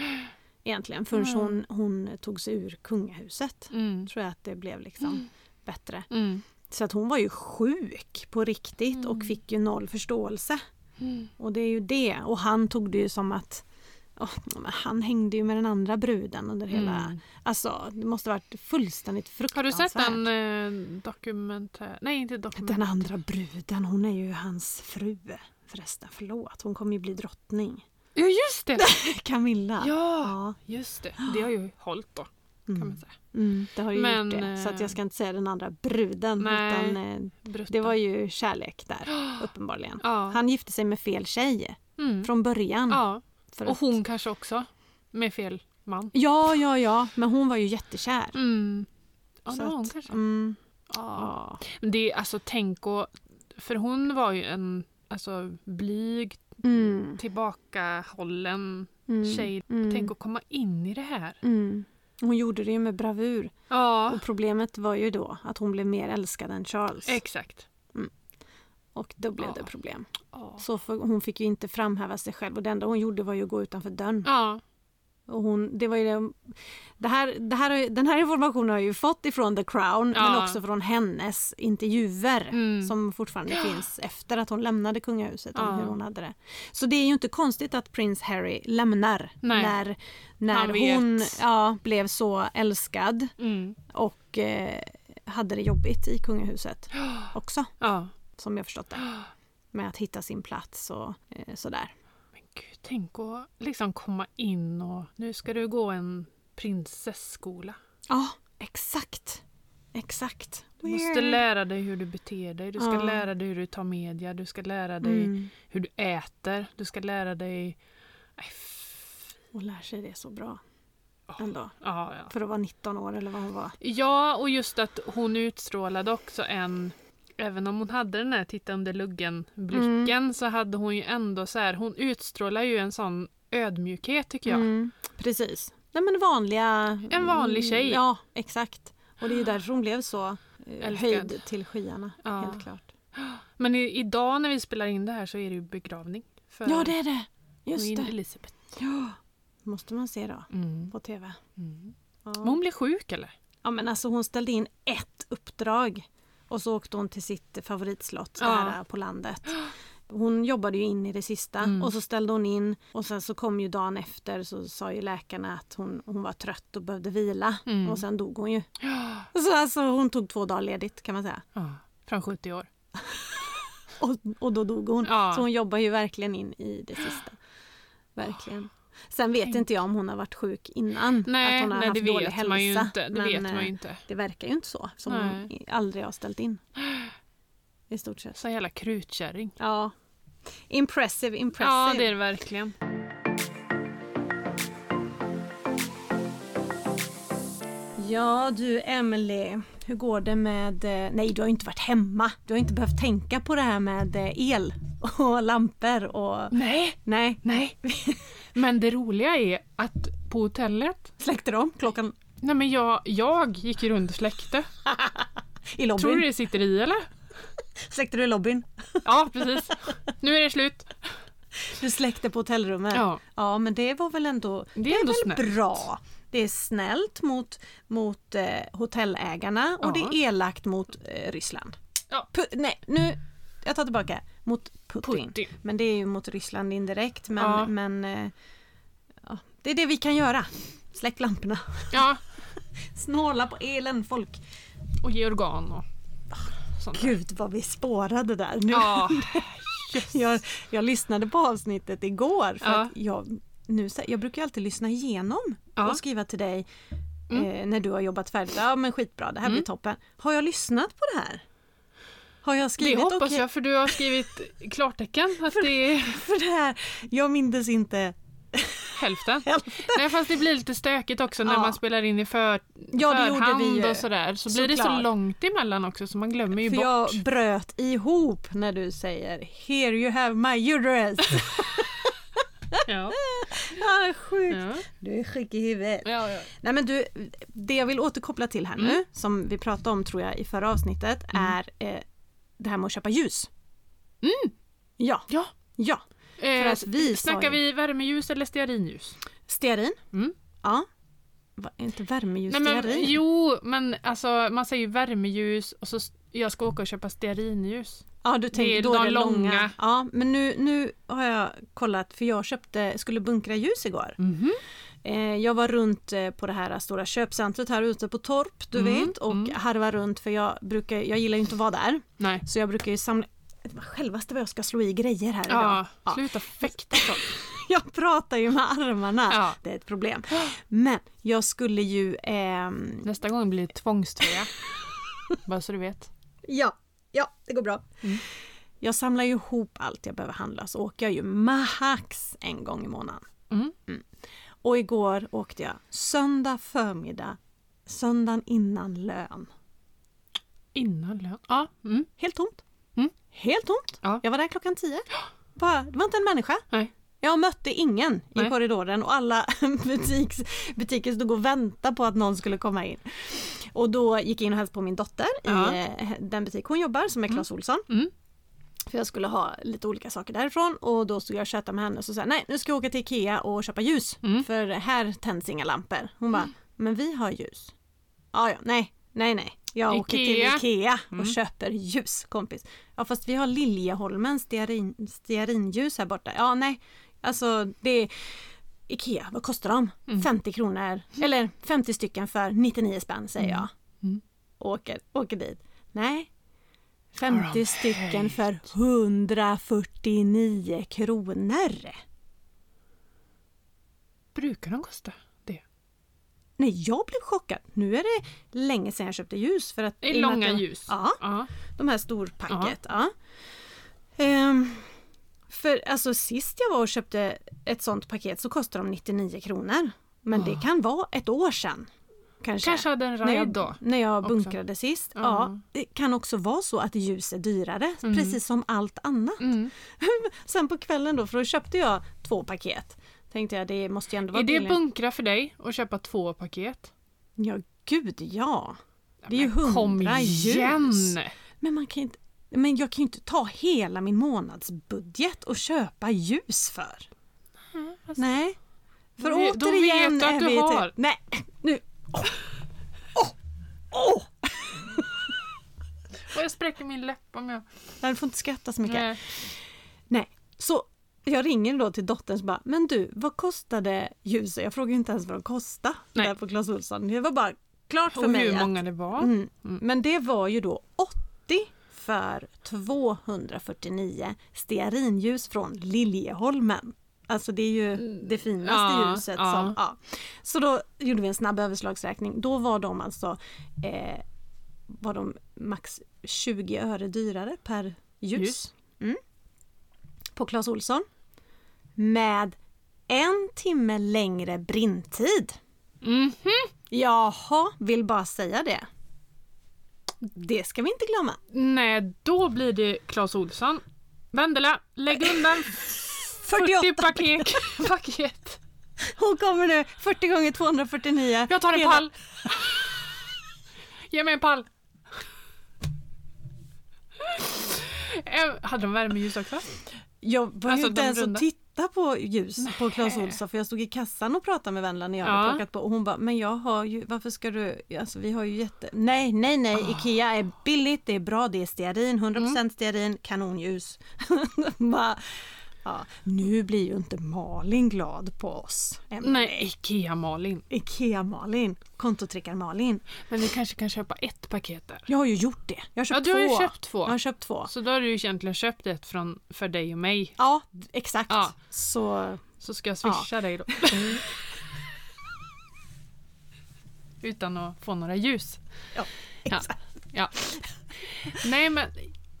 [SPEAKER 1] Egentligen förrän hon, hon tog sig ur kungahuset.
[SPEAKER 2] Mm.
[SPEAKER 1] Tror jag att det blev liksom bättre.
[SPEAKER 2] Mm.
[SPEAKER 1] Så att hon var ju sjuk på riktigt och fick ju noll förståelse.
[SPEAKER 2] Mm.
[SPEAKER 1] Och det är ju det. Och han tog det ju som att åh, men han hängde ju med den andra bruden under hela... Alltså det måste varit fullständigt
[SPEAKER 2] Mm. Har du
[SPEAKER 1] fruktansvärt.
[SPEAKER 2] sett den eh, dokumentär... Nej, inte dokumentär.
[SPEAKER 1] Den andra bruden, hon är ju hans fru. Förresten, förlåt. Hon kommer ju bli drottning.
[SPEAKER 2] Ja, just det!
[SPEAKER 1] Camilla.
[SPEAKER 2] Ja, just det. Det har ju hållit då, kan man säga.
[SPEAKER 1] Mm, det har ju
[SPEAKER 2] Men,
[SPEAKER 1] gjort det. Så att
[SPEAKER 2] eh,
[SPEAKER 1] jag ska inte säga den andra bruden.
[SPEAKER 2] nej.
[SPEAKER 1] Utan, eh,
[SPEAKER 2] Brutten.
[SPEAKER 1] det var ju kärlek där, uppenbarligen.
[SPEAKER 2] Ja.
[SPEAKER 1] Han gifte sig med fel tjej
[SPEAKER 2] Mm.
[SPEAKER 1] från början.
[SPEAKER 2] Ja,
[SPEAKER 1] För
[SPEAKER 2] och
[SPEAKER 1] att-
[SPEAKER 2] hon kanske också. Med fel man.
[SPEAKER 1] Ja, ja, ja. Men hon var ju jättekär.
[SPEAKER 2] Mm. Ja,
[SPEAKER 1] Så
[SPEAKER 2] det var hon
[SPEAKER 1] att-
[SPEAKER 2] kanske.
[SPEAKER 1] Mm.
[SPEAKER 2] Ja.
[SPEAKER 1] Ja.
[SPEAKER 2] Men Det, är- alltså, tänk och, För hon var ju en alltså, blyg,
[SPEAKER 1] Mm.
[SPEAKER 2] tillbakahållen
[SPEAKER 1] Mm.
[SPEAKER 2] tjej.
[SPEAKER 1] Mm.
[SPEAKER 2] Tänk att komma in i det här.
[SPEAKER 1] Mm. Hon gjorde det ju med bravur.
[SPEAKER 2] Ja,
[SPEAKER 1] Och problemet var ju då att hon blev mer älskad än Charles.
[SPEAKER 2] exakt.
[SPEAKER 1] och då blev
[SPEAKER 2] Ja.
[SPEAKER 1] det problem.
[SPEAKER 2] Ja.
[SPEAKER 1] Så för, hon fick ju inte framhäva sig själv och det enda hon gjorde var ju att gå utanför dörren.
[SPEAKER 2] Ja.
[SPEAKER 1] Och hon, det var ju det, det här, det här, har ju- den här informationen har jag ju fått ifrån The Crown men
[SPEAKER 2] Ja.
[SPEAKER 1] också från hennes intervjuer
[SPEAKER 2] Mm.
[SPEAKER 1] som fortfarande finns efter att hon lämnade kungahuset. Om
[SPEAKER 2] Ja.
[SPEAKER 1] hur hon hade det. Så det är ju inte konstigt att prins Harry lämnar
[SPEAKER 2] Nej.
[SPEAKER 1] när,
[SPEAKER 2] Han
[SPEAKER 1] när
[SPEAKER 2] vet.
[SPEAKER 1] hon ja, blev så älskad
[SPEAKER 2] Mm.
[SPEAKER 1] och eh, hade det jobbigt i kungahuset också
[SPEAKER 2] ja.
[SPEAKER 1] som jag förstått det. Med att hitta sin plats och eh, sådär.
[SPEAKER 2] Men gud, tänk att liksom komma in och nu ska du gå en prinsessskola.
[SPEAKER 1] Ja, exakt. Exakt.
[SPEAKER 2] Du måste lära dig hur du beter dig, du ska
[SPEAKER 1] Ja.
[SPEAKER 2] lära dig hur du tar media, du ska lära dig
[SPEAKER 1] Mm.
[SPEAKER 2] hur du äter, du ska lära dig... Nej, f-
[SPEAKER 1] Hon lär sig det så bra.
[SPEAKER 2] Ja.
[SPEAKER 1] Ändå.
[SPEAKER 2] Ja, ja.
[SPEAKER 1] För att vara 19 år eller vad hon var.
[SPEAKER 2] ja, och just att hon utstrålade också en... Även om hon hade den här titta under luggen-blicken
[SPEAKER 1] Mm.
[SPEAKER 2] så hade hon ju ändå så här, hon utstrålar ju en sån ödmjukhet tycker jag.
[SPEAKER 1] Mm, precis. Nej men vanliga...
[SPEAKER 2] En vanlig
[SPEAKER 1] Mm,
[SPEAKER 2] tjej.
[SPEAKER 1] Ja, exakt. Och det är ju därför hon blev så eh,
[SPEAKER 2] Älskad.
[SPEAKER 1] höjd till skyarna.
[SPEAKER 2] Ja.
[SPEAKER 1] Helt klart.
[SPEAKER 2] Men i, idag när vi spelar in det här så är det ju begravning. För
[SPEAKER 1] Ja, det är det. Just
[SPEAKER 2] Queen
[SPEAKER 1] det.
[SPEAKER 2] Elizabeth.
[SPEAKER 1] Ja. Måste man se då.
[SPEAKER 2] Mm.
[SPEAKER 1] På tv.
[SPEAKER 2] Men hon blev sjuk eller?
[SPEAKER 1] Ja men alltså hon ställde in ett uppdrag och så åkte hon till sitt favoritslott så
[SPEAKER 2] Ja.
[SPEAKER 1] här på landet. Hon jobbade ju in i det sista
[SPEAKER 2] Mm.
[SPEAKER 1] och så ställde hon in och sen så kom ju dagen efter så sa ju läkarna att hon, hon var trött och behövde vila
[SPEAKER 2] Mm.
[SPEAKER 1] och sen dog hon ju. Så alltså hon tog två dagar ledigt kan man säga
[SPEAKER 2] Ja. Från 70 år.
[SPEAKER 1] och, och då dog hon.
[SPEAKER 2] Ja.
[SPEAKER 1] Så hon jobbar ju verkligen in i det sista. Verkligen. Sen vet inte jag om hon har varit sjuk innan. att
[SPEAKER 2] Nej,
[SPEAKER 1] hon har
[SPEAKER 2] nej
[SPEAKER 1] haft
[SPEAKER 2] det
[SPEAKER 1] dålig
[SPEAKER 2] vet
[SPEAKER 1] hälsa.
[SPEAKER 2] man ju inte. Det vet man
[SPEAKER 1] eh,
[SPEAKER 2] ju inte.
[SPEAKER 1] Det verkar ju inte så, som
[SPEAKER 2] Nej.
[SPEAKER 1] hon aldrig har ställt in. I stort sett.
[SPEAKER 2] Så jävla krutkärring.
[SPEAKER 1] Ja. Impressive, impressive.
[SPEAKER 2] Ja, det är det verkligen.
[SPEAKER 1] Ja, du Emily. Hur går det med... eh, Nej, du har ju inte varit hemma. Du har inte behövt tänka på det här med eh, el och lampor och...
[SPEAKER 2] Nej,
[SPEAKER 1] Nej.
[SPEAKER 2] nej. Men det roliga är att på hotellet,
[SPEAKER 1] Släckte de klockan
[SPEAKER 2] nej men jag, jag gick ju runt och släckte.
[SPEAKER 1] i
[SPEAKER 2] Tror du
[SPEAKER 1] lobbyn?
[SPEAKER 2] det sitter i eller?
[SPEAKER 1] Släckte du i lobbyn?
[SPEAKER 2] Ja, precis. Nu är det slut.
[SPEAKER 1] Du släckte på hotellrummet?
[SPEAKER 2] Ja.
[SPEAKER 1] Ja, men det var väl ändå,
[SPEAKER 2] är ändå
[SPEAKER 1] väl
[SPEAKER 2] snällt.
[SPEAKER 1] bra. Det är snällt mot, mot eh, hotellägarna och
[SPEAKER 2] Ja.
[SPEAKER 1] det är elakt mot eh, Ryssland.
[SPEAKER 2] Ja.
[SPEAKER 1] Pu- nej, nu, jag tar tillbaka. Mot Putin.
[SPEAKER 2] Putin.
[SPEAKER 1] Men det är ju mot Ryssland indirekt. Men,
[SPEAKER 2] Ja.
[SPEAKER 1] men eh, ja, det är det vi kan göra. Släck lamporna.
[SPEAKER 2] Ja,
[SPEAKER 1] Snåla på elen folk.
[SPEAKER 2] och ge organ och sånt där.
[SPEAKER 1] Gud vad vi spårade där. Nu,
[SPEAKER 2] Ja,
[SPEAKER 1] jag, jag lyssnade på avsnittet igår. För
[SPEAKER 2] Ja.
[SPEAKER 1] att jag, nu, sä- jag brukar ju alltid lyssna igenom
[SPEAKER 2] Ja. Mm.
[SPEAKER 1] och skriva till dig eh, när du har jobbat färdigt. Ja men skitbra, det här blir toppen. Har jag lyssnat på det här? Har jag
[SPEAKER 2] Det
[SPEAKER 1] skrivit
[SPEAKER 2] hoppas
[SPEAKER 1] okej?
[SPEAKER 2] jag för du har skrivit klartecken att det är
[SPEAKER 1] För det här, jag mindes inte.
[SPEAKER 2] hälften. Nej fast det blir lite stökigt också när
[SPEAKER 1] Ja.
[SPEAKER 2] man spelar in i för,
[SPEAKER 1] Ja, det gjorde
[SPEAKER 2] förhand
[SPEAKER 1] vi ju.
[SPEAKER 2] och sådär. Så blir det så
[SPEAKER 1] Såklart.
[SPEAKER 2] långt emellan också så man glömmer ju
[SPEAKER 1] För
[SPEAKER 2] bort.
[SPEAKER 1] jag bröt ihop när du säger “Here you have my uterus”.
[SPEAKER 2] Ja.
[SPEAKER 1] ah, sjukt.
[SPEAKER 2] Ja.
[SPEAKER 1] Du är sjuk i huvudet.
[SPEAKER 2] Ja, ja.
[SPEAKER 1] Nej men du, det jag vill återkoppla till här
[SPEAKER 2] Mm.
[SPEAKER 1] nu, som vi pratade om tror jag i förra avsnittet, är eh, det här med att köpa ljus. Ja.
[SPEAKER 2] Mm. Ja.
[SPEAKER 1] Ja.
[SPEAKER 2] Eh,
[SPEAKER 1] För att vi sa
[SPEAKER 2] snackar
[SPEAKER 1] ju-
[SPEAKER 2] vi värmeljus eller stearinljus?
[SPEAKER 1] Stearin.
[SPEAKER 2] Mm.
[SPEAKER 1] Ja. Va, är inte värmeljus
[SPEAKER 2] Nej, men,
[SPEAKER 1] stearin?
[SPEAKER 2] jo, men alltså man säger ju värmeljus och så s- jag ska åka och köpa stearinljus.
[SPEAKER 1] Ja, du tänker,
[SPEAKER 2] Det är
[SPEAKER 1] då är
[SPEAKER 2] de
[SPEAKER 1] det långa.
[SPEAKER 2] långa.
[SPEAKER 1] Ja, men nu, nu har jag kollat för jag köpte, skulle bunkra ljus igår.
[SPEAKER 2] Mhm.
[SPEAKER 1] Eh, jag var runt eh, på det här stora köpcentret här ute på Torp,
[SPEAKER 2] Mm,
[SPEAKER 1] du vet, och harvade runt för jag, brukar, jag gillar ju inte att vara där.
[SPEAKER 2] Nej.
[SPEAKER 1] Så jag brukar ju samla... Det var självaste vad jag ska slå i grejer här idag.
[SPEAKER 2] Ja,
[SPEAKER 1] Ja.
[SPEAKER 2] sluta fäkta folk.
[SPEAKER 1] Jag pratar ju med armarna.
[SPEAKER 2] Ja.
[SPEAKER 1] Det är ett problem. Men jag skulle ju... ehm,
[SPEAKER 2] Nästa gång blir det tvångströja. Bara så du vet.
[SPEAKER 1] Ja, ja, det går bra.
[SPEAKER 2] Mm.
[SPEAKER 1] Jag samlar ju ihop allt jag behöver handla så åker jag ju max en gång i månaden.
[SPEAKER 2] Mm.
[SPEAKER 1] Och igår åkte jag söndag förmiddag, söndagen innan lön.
[SPEAKER 2] Innan lön. Ja. Mm.
[SPEAKER 1] Helt tomt.
[SPEAKER 2] Mm.
[SPEAKER 1] Helt tomt.
[SPEAKER 2] Ja.
[SPEAKER 1] Jag var där klockan tio. Bara, det var inte en människa.
[SPEAKER 2] Nej.
[SPEAKER 1] Jag mötte ingen i
[SPEAKER 2] Nej.
[SPEAKER 1] korridoren och alla butiks, butiker stod och väntade på att någon skulle komma in. Och då gick jag in och hälsade på min dotter
[SPEAKER 2] Ja.
[SPEAKER 1] i eh, den butik hon jobbar som är Clas Ohlson.
[SPEAKER 2] Mm.
[SPEAKER 1] För jag skulle ha lite olika saker därifrån och då stod jag och tjötade med henne och så sa jag, nej nu ska jag åka till Ikea och köpa ljus
[SPEAKER 2] Mm.
[SPEAKER 1] för här tänds inga lampor. Hon bara, men vi har ljus. Ja, ja, nej, nej, nej. Jag åker till
[SPEAKER 2] Ikea. Mm.
[SPEAKER 1] Ikea och köper ljus kompis. Ja fast vi har Liljeholmens stearin, stearinljus här borta. Ja nej, alltså det är Ikea, vad kostar de?
[SPEAKER 2] Mm.
[SPEAKER 1] 50 kronor, eller 50 stycken för 99 spänn säger
[SPEAKER 2] Mm.
[SPEAKER 1] jag. Åker, åker dit. Nej, 50 stycken för 149 kronor.
[SPEAKER 2] Brukar de kosta det?
[SPEAKER 1] Nej, jag blev chockad. Nu är det länge sedan jag köpte ljus. För att,
[SPEAKER 2] Det är
[SPEAKER 1] i och med att
[SPEAKER 2] långa
[SPEAKER 1] jag-
[SPEAKER 2] ljus.
[SPEAKER 1] Ja.
[SPEAKER 2] ja.
[SPEAKER 1] De här storpacket. Ja. Ehm, för alltså sist jag var och köpte ett sånt paket så kostade de 99 kronor. Men det kan vara ett år sedan. Kanske.
[SPEAKER 2] Ah. Kanske hade en
[SPEAKER 1] när
[SPEAKER 2] ride
[SPEAKER 1] jag,
[SPEAKER 2] då.
[SPEAKER 1] när jag
[SPEAKER 2] också.
[SPEAKER 1] bunkrade sist. Ja.
[SPEAKER 2] Ja.
[SPEAKER 1] det kan också vara så att ljus är dyrare, precis som allt annat.
[SPEAKER 2] Mm.
[SPEAKER 1] Sen på kvällen då, för då köpte jag två paket. Tänkte jag, det måste ju ändå vara
[SPEAKER 2] Är det
[SPEAKER 1] billigare.
[SPEAKER 2] bunkra för dig att köpa två paket?
[SPEAKER 1] Ja, gud ja. Det är ju
[SPEAKER 2] Men Kom
[SPEAKER 1] hundra
[SPEAKER 2] igen!
[SPEAKER 1] ljus. Men man kan ju inte men jag kan ju inte ta hela min månadsbudget och köpa ljus för.
[SPEAKER 2] fast-
[SPEAKER 1] Nej. För
[SPEAKER 2] Då vet- då
[SPEAKER 1] återigen
[SPEAKER 2] vet du att
[SPEAKER 1] är
[SPEAKER 2] du
[SPEAKER 1] vi till-
[SPEAKER 2] har.
[SPEAKER 1] Nej, nu. Åh! Åh! Åh!
[SPEAKER 2] Och jag spräcker min läpp om jag...
[SPEAKER 1] Nej, Du får inte skratta så mycket. Nej.
[SPEAKER 2] Nej.
[SPEAKER 1] Så jag ringer då till dottern och bara, men du, vad kostade ljuset? Jag frågade ju inte ens vad de kostade
[SPEAKER 2] Nej.
[SPEAKER 1] där på Clas Ohlson. Det var bara klart för
[SPEAKER 2] Och
[SPEAKER 1] mig
[SPEAKER 2] hur
[SPEAKER 1] att
[SPEAKER 2] många det var.
[SPEAKER 1] Mm. Men det var ju då 80 för 249 stearinljus från Liljeholmen. Alltså det är ju det finaste
[SPEAKER 2] Mm. Ja,
[SPEAKER 1] ljuset.
[SPEAKER 2] ja.
[SPEAKER 1] Som, ja. Så då gjorde vi en snabb överslagsräkning. Då var de alltså eh, var de max 20 öre dyrare per ljus.
[SPEAKER 2] Ljus.
[SPEAKER 1] Mm. På Clas Olsson. Med en timme längre brintid.
[SPEAKER 2] Mhm.
[SPEAKER 1] Jaha, vill bara säga det. Det ska vi inte glömma.
[SPEAKER 2] Nej, då blir det Clas Olsson. Vendela, lägg undan 40
[SPEAKER 1] 48.
[SPEAKER 2] paket. paket.
[SPEAKER 1] Hon kommer nu, 40 gånger 249.
[SPEAKER 2] Jag tar en
[SPEAKER 1] Hela-
[SPEAKER 2] pall. Ge mig en pall. Eh, Hade de värmeljus också?
[SPEAKER 1] Jag var
[SPEAKER 2] Alltså,
[SPEAKER 1] ju inte
[SPEAKER 2] de
[SPEAKER 1] ens och
[SPEAKER 2] runda.
[SPEAKER 1] titta på ljus på Clas Ohlson för jag stod i kassan och pratade med Vendela när jag hade
[SPEAKER 2] Ja.
[SPEAKER 1] plockat på och hon bara, men jag har ju, varför ska du, alltså vi har ju jätte, nej, nej, nej,
[SPEAKER 2] Ah.
[SPEAKER 1] IKEA är billigt, det är bra, det är stearin, 100%
[SPEAKER 2] Mm.
[SPEAKER 1] stearin, kanonljus. bara, ja, nu blir ju inte Malin glad på oss. Emelie.
[SPEAKER 2] Nej, Ikea-Malin.
[SPEAKER 1] IKEA-Malin, kontotrickar-Malin.
[SPEAKER 2] Men vi kanske kan köpa ett paket där.
[SPEAKER 1] Jag har ju gjort det. Jag har köpt
[SPEAKER 2] Ja, du har ju
[SPEAKER 1] två.
[SPEAKER 2] köpt två.
[SPEAKER 1] Jag har köpt två.
[SPEAKER 2] Så då har du ju egentligen köpt ett från, för dig och mig.
[SPEAKER 1] Ja, d- exakt.
[SPEAKER 2] Ja.
[SPEAKER 1] Så
[SPEAKER 2] Så ska jag swisha dig då.
[SPEAKER 1] Mm.
[SPEAKER 2] Utan att få några ljus.
[SPEAKER 1] Ja,
[SPEAKER 2] Ja. Nej men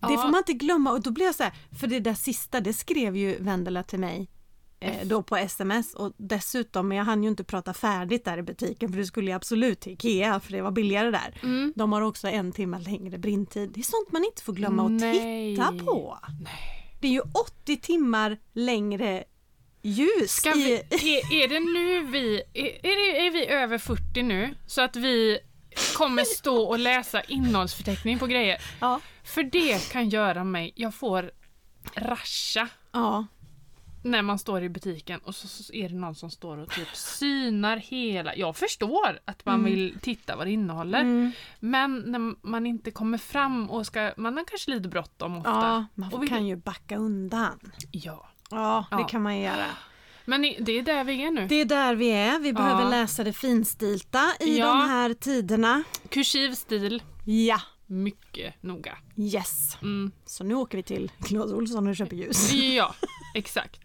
[SPEAKER 1] Det
[SPEAKER 2] Ja.
[SPEAKER 1] får man inte glömma och då blev jag så här, för det där sista det skrev ju Vendela till mig eh, då på sms och dessutom, men jag hann ju inte prata färdigt där i butiken för du skulle ju absolut till Ikea för det var billigare där.
[SPEAKER 2] Mm.
[SPEAKER 1] De har också en timme längre brintid. Det är sånt man inte får glömma att
[SPEAKER 2] Nej.
[SPEAKER 1] titta på. Det är ju 80 timmar längre ljus.
[SPEAKER 2] Ska vi, är, är det nu vi är, är, det, är vi över 40 nu så att vi kommer stå och läsa innehållsförteckning på grejer?
[SPEAKER 1] Ja.
[SPEAKER 2] För det kan göra mig, jag får rascha
[SPEAKER 1] Ja.
[SPEAKER 2] när man står i butiken och så, så är det någon som står och typ synar hela. Jag förstår att man
[SPEAKER 1] Mm.
[SPEAKER 2] vill titta vad det innehåller. Men när man inte kommer fram och ska, man har kanske lite bråttom ofta.
[SPEAKER 1] ja, man
[SPEAKER 2] Och vi-
[SPEAKER 1] kan ju backa undan.
[SPEAKER 2] ja.
[SPEAKER 1] Ja, det
[SPEAKER 2] Ja.
[SPEAKER 1] kan man göra.
[SPEAKER 2] Men i- det är där vi är nu.
[SPEAKER 1] Det är där vi är. Vi behöver
[SPEAKER 2] Ja.
[SPEAKER 1] läsa det finstilta i
[SPEAKER 2] Ja.
[SPEAKER 1] de här tiderna.
[SPEAKER 2] Kursiv stil,
[SPEAKER 1] Ja,
[SPEAKER 2] mycket noga.
[SPEAKER 1] yes.
[SPEAKER 2] Mm.
[SPEAKER 1] Så nu åker vi till Clas Ohlson och köper ljus.
[SPEAKER 2] Ja, exakt.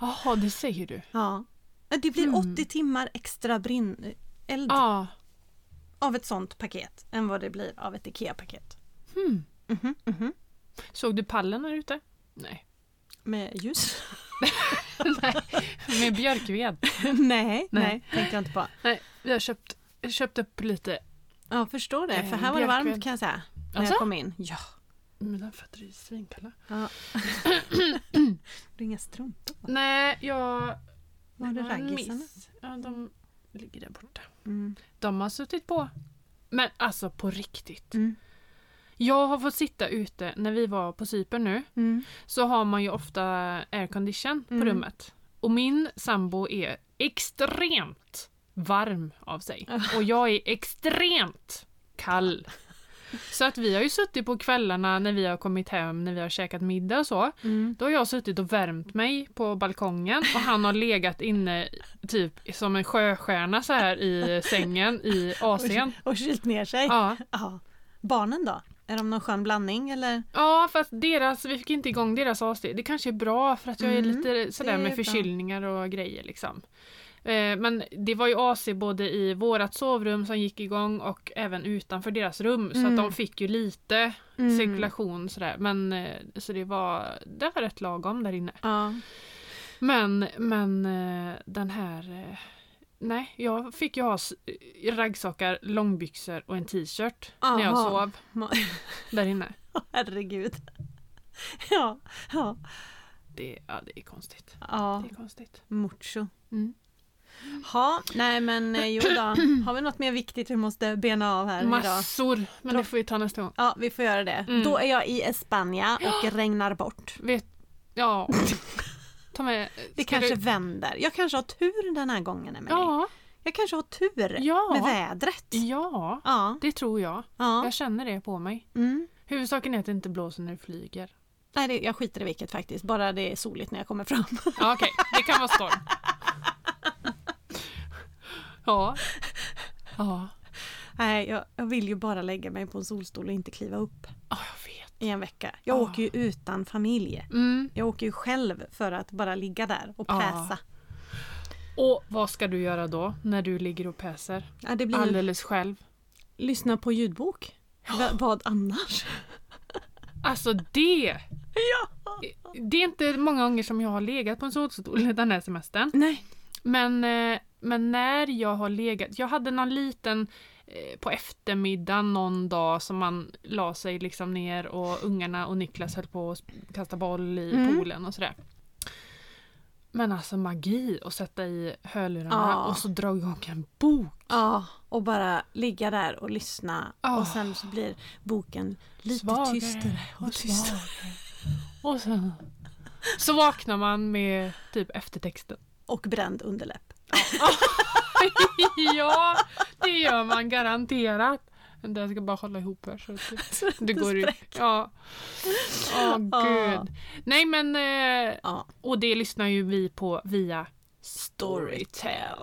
[SPEAKER 2] Jaha, det säger du.
[SPEAKER 1] Ja. Det blir 80 timmar extra brinn eld
[SPEAKER 2] Ja,
[SPEAKER 1] av ett sånt paket än vad det blir av ett IKEA-paket.
[SPEAKER 2] såg du pallen här ute? Nej.
[SPEAKER 1] Med ljus?
[SPEAKER 2] Med björkved.
[SPEAKER 1] nej, nej,
[SPEAKER 2] Nej.
[SPEAKER 1] tänkte jag inte på.
[SPEAKER 2] Nej, vi har köpt, köpt upp lite.
[SPEAKER 1] Ja, jag förstår det.
[SPEAKER 2] Eh,
[SPEAKER 1] För här var det
[SPEAKER 2] björkved.
[SPEAKER 1] varmt kan jag säga. När
[SPEAKER 2] Alltså?
[SPEAKER 1] jag kom in. Ja.
[SPEAKER 2] Mina fötter är svinkalla.
[SPEAKER 1] ja. det är inga strumpor.
[SPEAKER 2] Nej, jag...
[SPEAKER 1] Var det
[SPEAKER 2] det en
[SPEAKER 1] raggisarna?
[SPEAKER 2] miss. Ja, de ligger där borta.
[SPEAKER 1] Mm.
[SPEAKER 2] De har suttit på. Men alltså på riktigt.
[SPEAKER 1] Mm.
[SPEAKER 2] Jag har fått sitta ute, när vi var på Cypern nu,
[SPEAKER 1] Mm.
[SPEAKER 2] så har man ju ofta aircondition på rummet. Och min sambo är extremt varm av sig. Och jag är extremt kall. Så att vi har ju suttit på kvällarna när vi har kommit hem, när vi har käkat middag och så. Då har jag suttit och värmt mig på balkongen och han har legat inne typ som en sjöstjärna så här i sängen i AC'n.
[SPEAKER 1] Och kylt ner sig.
[SPEAKER 2] Ja.
[SPEAKER 1] Ja. Barnen då? Är de någon skön blandning eller?
[SPEAKER 2] ja, fast deras, vi fick inte igång deras AC. Det kanske är bra för att jag är lite sådär
[SPEAKER 1] Mm, det
[SPEAKER 2] med
[SPEAKER 1] är bra.
[SPEAKER 2] förkylningar och grejer liksom. Eh, Men det var ju AC både i vårat sovrum som gick igång och även utanför deras rum så
[SPEAKER 1] Mm.
[SPEAKER 2] att de fick ju lite cirkulation sådär. Men eh, så det var, det var rätt lagom där inne.
[SPEAKER 1] Ja.
[SPEAKER 2] Men, men eh, den här... eh, Nej, jag fick ju ha s- eh, raggsockar, långbyxor och en t-shirt när jag
[SPEAKER 1] Aha.
[SPEAKER 2] sov där inne.
[SPEAKER 1] Herregud. Ja, ja.
[SPEAKER 2] Det, ja, det är konstigt.
[SPEAKER 1] ja.
[SPEAKER 2] Det är konstigt.
[SPEAKER 1] Mucho.
[SPEAKER 2] Mm.
[SPEAKER 1] Ja, nej men eh, jo då. Har vi något mer viktigt vi måste bena av här idag?
[SPEAKER 2] Massor! Men det får vi ta nästa gång.
[SPEAKER 1] Ja, vi får göra det.
[SPEAKER 2] Mm.
[SPEAKER 1] Då är jag i Espanja och regnar bort.
[SPEAKER 2] Vet... Ja. Ta med...
[SPEAKER 1] Det
[SPEAKER 2] ska
[SPEAKER 1] kanske
[SPEAKER 2] du-
[SPEAKER 1] vänder. Jag kanske har tur den här gången, Emelie.
[SPEAKER 2] Ja.
[SPEAKER 1] Jag kanske har tur
[SPEAKER 2] Ja. Mm.
[SPEAKER 1] med vädret.
[SPEAKER 2] Ja.
[SPEAKER 1] Ja.
[SPEAKER 2] Det tror jag.
[SPEAKER 1] ja.
[SPEAKER 2] Jag känner det på mig.
[SPEAKER 1] Mm.
[SPEAKER 2] Huvudsaken är att det inte blåser när du flyger.
[SPEAKER 1] Nej, det, jag skiter i vilket faktiskt. Bara det är soligt när jag kommer fram.
[SPEAKER 2] Ja, okej. Det kan vara storm. Ja. Ja.
[SPEAKER 1] Nej, jag, jag vill ju bara lägga mig på en solstol och inte kliva upp
[SPEAKER 2] Ja, jag vet.
[SPEAKER 1] i en vecka. Jag
[SPEAKER 2] Ah.
[SPEAKER 1] åker ju utan familj.
[SPEAKER 2] Mm.
[SPEAKER 1] Jag åker ju själv för att bara ligga där och
[SPEAKER 2] Ah.
[SPEAKER 1] päsa.
[SPEAKER 2] Och vad ska du göra då när du ligger och päser?
[SPEAKER 1] Ja, det blir ju...
[SPEAKER 2] Alldeles själv.
[SPEAKER 1] Lyssna på ljudbok.
[SPEAKER 2] Ah.
[SPEAKER 1] Va- vad annars?
[SPEAKER 2] Alltså det! Det är inte många gånger som jag har legat på en solstol den här semestern.
[SPEAKER 1] Nej.
[SPEAKER 2] Men, eh, men när jag har legat, jag hade någon liten eh, på eftermiddagen någon dag som man la sig liksom ner och ungarna och Niklas höll på att sp- kasta boll i
[SPEAKER 1] Mm.
[SPEAKER 2] poolen och sådär. Men alltså magi att sätta i hörlurarna
[SPEAKER 1] Ja.
[SPEAKER 2] och så dra igång en bok.
[SPEAKER 1] Ja, och bara ligga där och lyssna.
[SPEAKER 2] Ah.
[SPEAKER 1] Och sen så blir boken lite
[SPEAKER 2] Svagare
[SPEAKER 1] tystare och tystare.
[SPEAKER 2] Och sen så vaknar man med typ eftertexten.
[SPEAKER 1] Och bränd underläpp.
[SPEAKER 2] ja, det gör man garanterat. Men det ska bara hålla ihop här så att det,
[SPEAKER 1] Så att
[SPEAKER 2] det går ut.
[SPEAKER 1] spräcker.
[SPEAKER 2] Ja. Åh
[SPEAKER 1] Ja.
[SPEAKER 2] gud. Nej men, eh,
[SPEAKER 1] Ja.
[SPEAKER 2] och det lyssnar ju vi på via
[SPEAKER 1] Storytel.
[SPEAKER 2] Storytel.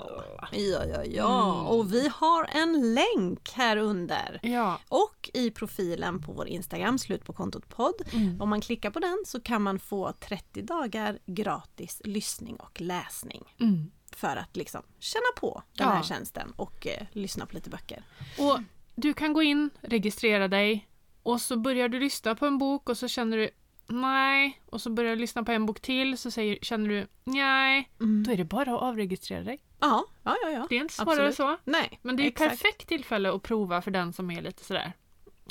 [SPEAKER 1] Ja, ja, ja.
[SPEAKER 2] Mm.
[SPEAKER 1] Och vi har en länk här under.
[SPEAKER 2] Ja.
[SPEAKER 1] Och i profilen på vår Instagram, slut på kontot podd.
[SPEAKER 2] Mm.
[SPEAKER 1] Om man klickar på den så kan man få 30 dagar gratis lyssning och läsning.
[SPEAKER 2] Mm.
[SPEAKER 1] För att liksom känna på den här
[SPEAKER 2] Ja.
[SPEAKER 1] tjänsten och eh, lyssna på lite böcker.
[SPEAKER 2] Och du kan gå in, registrera dig Och så börjar du lyssna på en bok och så känner du nej. Och så börjar du lyssna på en bok till så säger, känner du nej.
[SPEAKER 1] Mm.
[SPEAKER 2] Då är det bara att avregistrera dig.
[SPEAKER 1] Ja, ja, ja. ja.
[SPEAKER 2] Det är inte svårare
[SPEAKER 1] Absolut.
[SPEAKER 2] så.
[SPEAKER 1] Nej,
[SPEAKER 2] Men det är ju
[SPEAKER 1] exakt.
[SPEAKER 2] perfekt tillfälle att prova för den som är lite sådär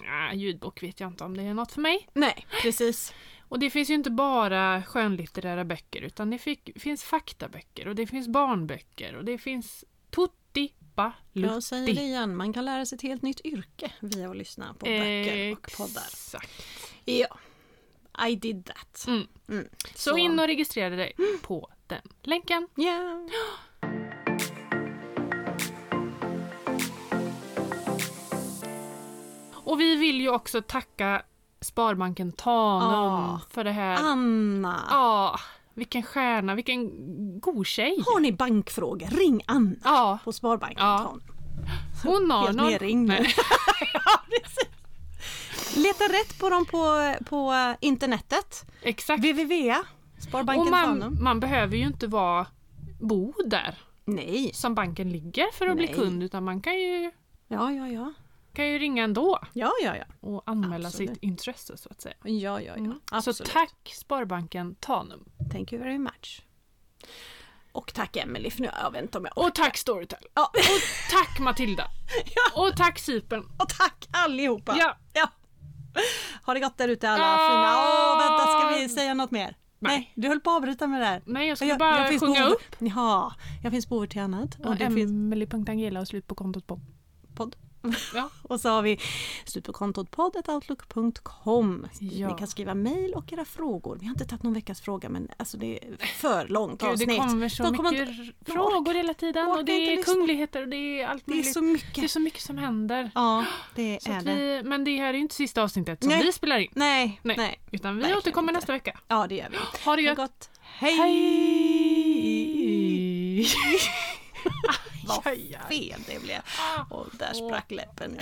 [SPEAKER 2] "Nja, ljudbok vet jag inte om det är något för mig.
[SPEAKER 1] Nej, precis.
[SPEAKER 2] Och det finns ju inte bara skönlitterära böcker utan det fick, finns faktaböcker och det finns barnböcker och det finns tutti
[SPEAKER 1] Jag säger det
[SPEAKER 2] balutti.
[SPEAKER 1] igen, man kan lära sig ett helt nytt yrke via att lyssna på böcker och poddar.
[SPEAKER 2] Exakt.
[SPEAKER 1] Ja, I did that.
[SPEAKER 2] Mm.
[SPEAKER 1] Mm.
[SPEAKER 2] Så, in och registrera dig på den länken.
[SPEAKER 1] Ja.
[SPEAKER 2] Och vi vill ju också tacka Sparbanken Tanum
[SPEAKER 1] Ja.
[SPEAKER 2] för det här.
[SPEAKER 1] Ah. Anna!
[SPEAKER 2] Ja, vilken stjärna, vilken god tjej.
[SPEAKER 1] Har ni bankfrågor, ring Anna
[SPEAKER 2] Ja,
[SPEAKER 1] på Sparbanken.
[SPEAKER 2] Ja.
[SPEAKER 1] Tan.
[SPEAKER 2] hon har
[SPEAKER 1] Helt
[SPEAKER 2] någon...
[SPEAKER 1] nerringd nu. Leta rätt på dem på, på internetet.
[SPEAKER 2] Exakt.
[SPEAKER 1] www.
[SPEAKER 2] Och
[SPEAKER 1] Sparbanken
[SPEAKER 2] man,
[SPEAKER 1] Tanum.
[SPEAKER 2] man behöver ju inte vara bo där
[SPEAKER 1] Nej.
[SPEAKER 2] som banken ligger för att bli
[SPEAKER 1] Nej.
[SPEAKER 2] kund utan man kan ju,
[SPEAKER 1] Ja, ja, ja.
[SPEAKER 2] kan ju ringa ändå
[SPEAKER 1] Ja, ja, ja.
[SPEAKER 2] och anmäla
[SPEAKER 1] Absolut.
[SPEAKER 2] sitt intresse så att säga.
[SPEAKER 1] Ja, ja, ja. Absolut.
[SPEAKER 2] Mm. Så tack Sparbanken Tanum.
[SPEAKER 1] Thank you very much. Och tack Emily för nu jag vet inte om jag...
[SPEAKER 2] Och tack Storytel.
[SPEAKER 1] Ja.
[SPEAKER 2] Tack Matilda. Och tack Cypern.
[SPEAKER 1] Och tack allihopa!
[SPEAKER 2] Ja.
[SPEAKER 1] Ha det gott där ute alla
[SPEAKER 2] Ja.
[SPEAKER 1] fina... Åh, vänta, ska vi säga något mer?
[SPEAKER 2] Nej.
[SPEAKER 1] du höll på att avbryta med det där.
[SPEAKER 2] Nej jag skulle bara
[SPEAKER 1] finns
[SPEAKER 2] sjunga
[SPEAKER 1] behov-
[SPEAKER 2] upp.
[SPEAKER 1] Ja, jag finns på ord till annat. Och,
[SPEAKER 2] Och
[SPEAKER 1] det finns
[SPEAKER 2] Emily.Angela och slut på kontot på.
[SPEAKER 1] podd.
[SPEAKER 2] Ja.
[SPEAKER 1] Och så har vi slut på kontot poddoutlook.com.
[SPEAKER 2] Ja.
[SPEAKER 1] Ni kan skriva mejl och era frågor. Vi har inte tagit någon veckas fråga men alltså det är för långt
[SPEAKER 2] Gud, det
[SPEAKER 1] avsnitt.
[SPEAKER 2] kommer så
[SPEAKER 1] De
[SPEAKER 2] mycket
[SPEAKER 1] inte-
[SPEAKER 2] r- frågor hela tiden
[SPEAKER 1] orkar
[SPEAKER 2] och det
[SPEAKER 1] inte
[SPEAKER 2] är
[SPEAKER 1] lyssna.
[SPEAKER 2] kungligheter och det är allt
[SPEAKER 1] Det är
[SPEAKER 2] möjligt.
[SPEAKER 1] så
[SPEAKER 2] det är
[SPEAKER 1] mycket.
[SPEAKER 2] så mycket som händer.
[SPEAKER 1] Ja, det
[SPEAKER 2] Så
[SPEAKER 1] är
[SPEAKER 2] att
[SPEAKER 1] det.
[SPEAKER 2] vi, men det här är ju inte sista avsnittet som
[SPEAKER 1] Nej.
[SPEAKER 2] vi spelar in.
[SPEAKER 1] Nej,
[SPEAKER 2] Nej.
[SPEAKER 1] nej,
[SPEAKER 2] Utan vi
[SPEAKER 1] Verkligen
[SPEAKER 2] återkommer
[SPEAKER 1] inte.
[SPEAKER 2] nästa vecka.
[SPEAKER 1] Ja, det gör vi.
[SPEAKER 2] Ha det
[SPEAKER 1] Ha det
[SPEAKER 2] gött!
[SPEAKER 1] gott. Hej!
[SPEAKER 2] Hej!
[SPEAKER 1] Vad
[SPEAKER 2] Aj, aj, aj. Ah.
[SPEAKER 1] fel det blev. Och där sprack läppen.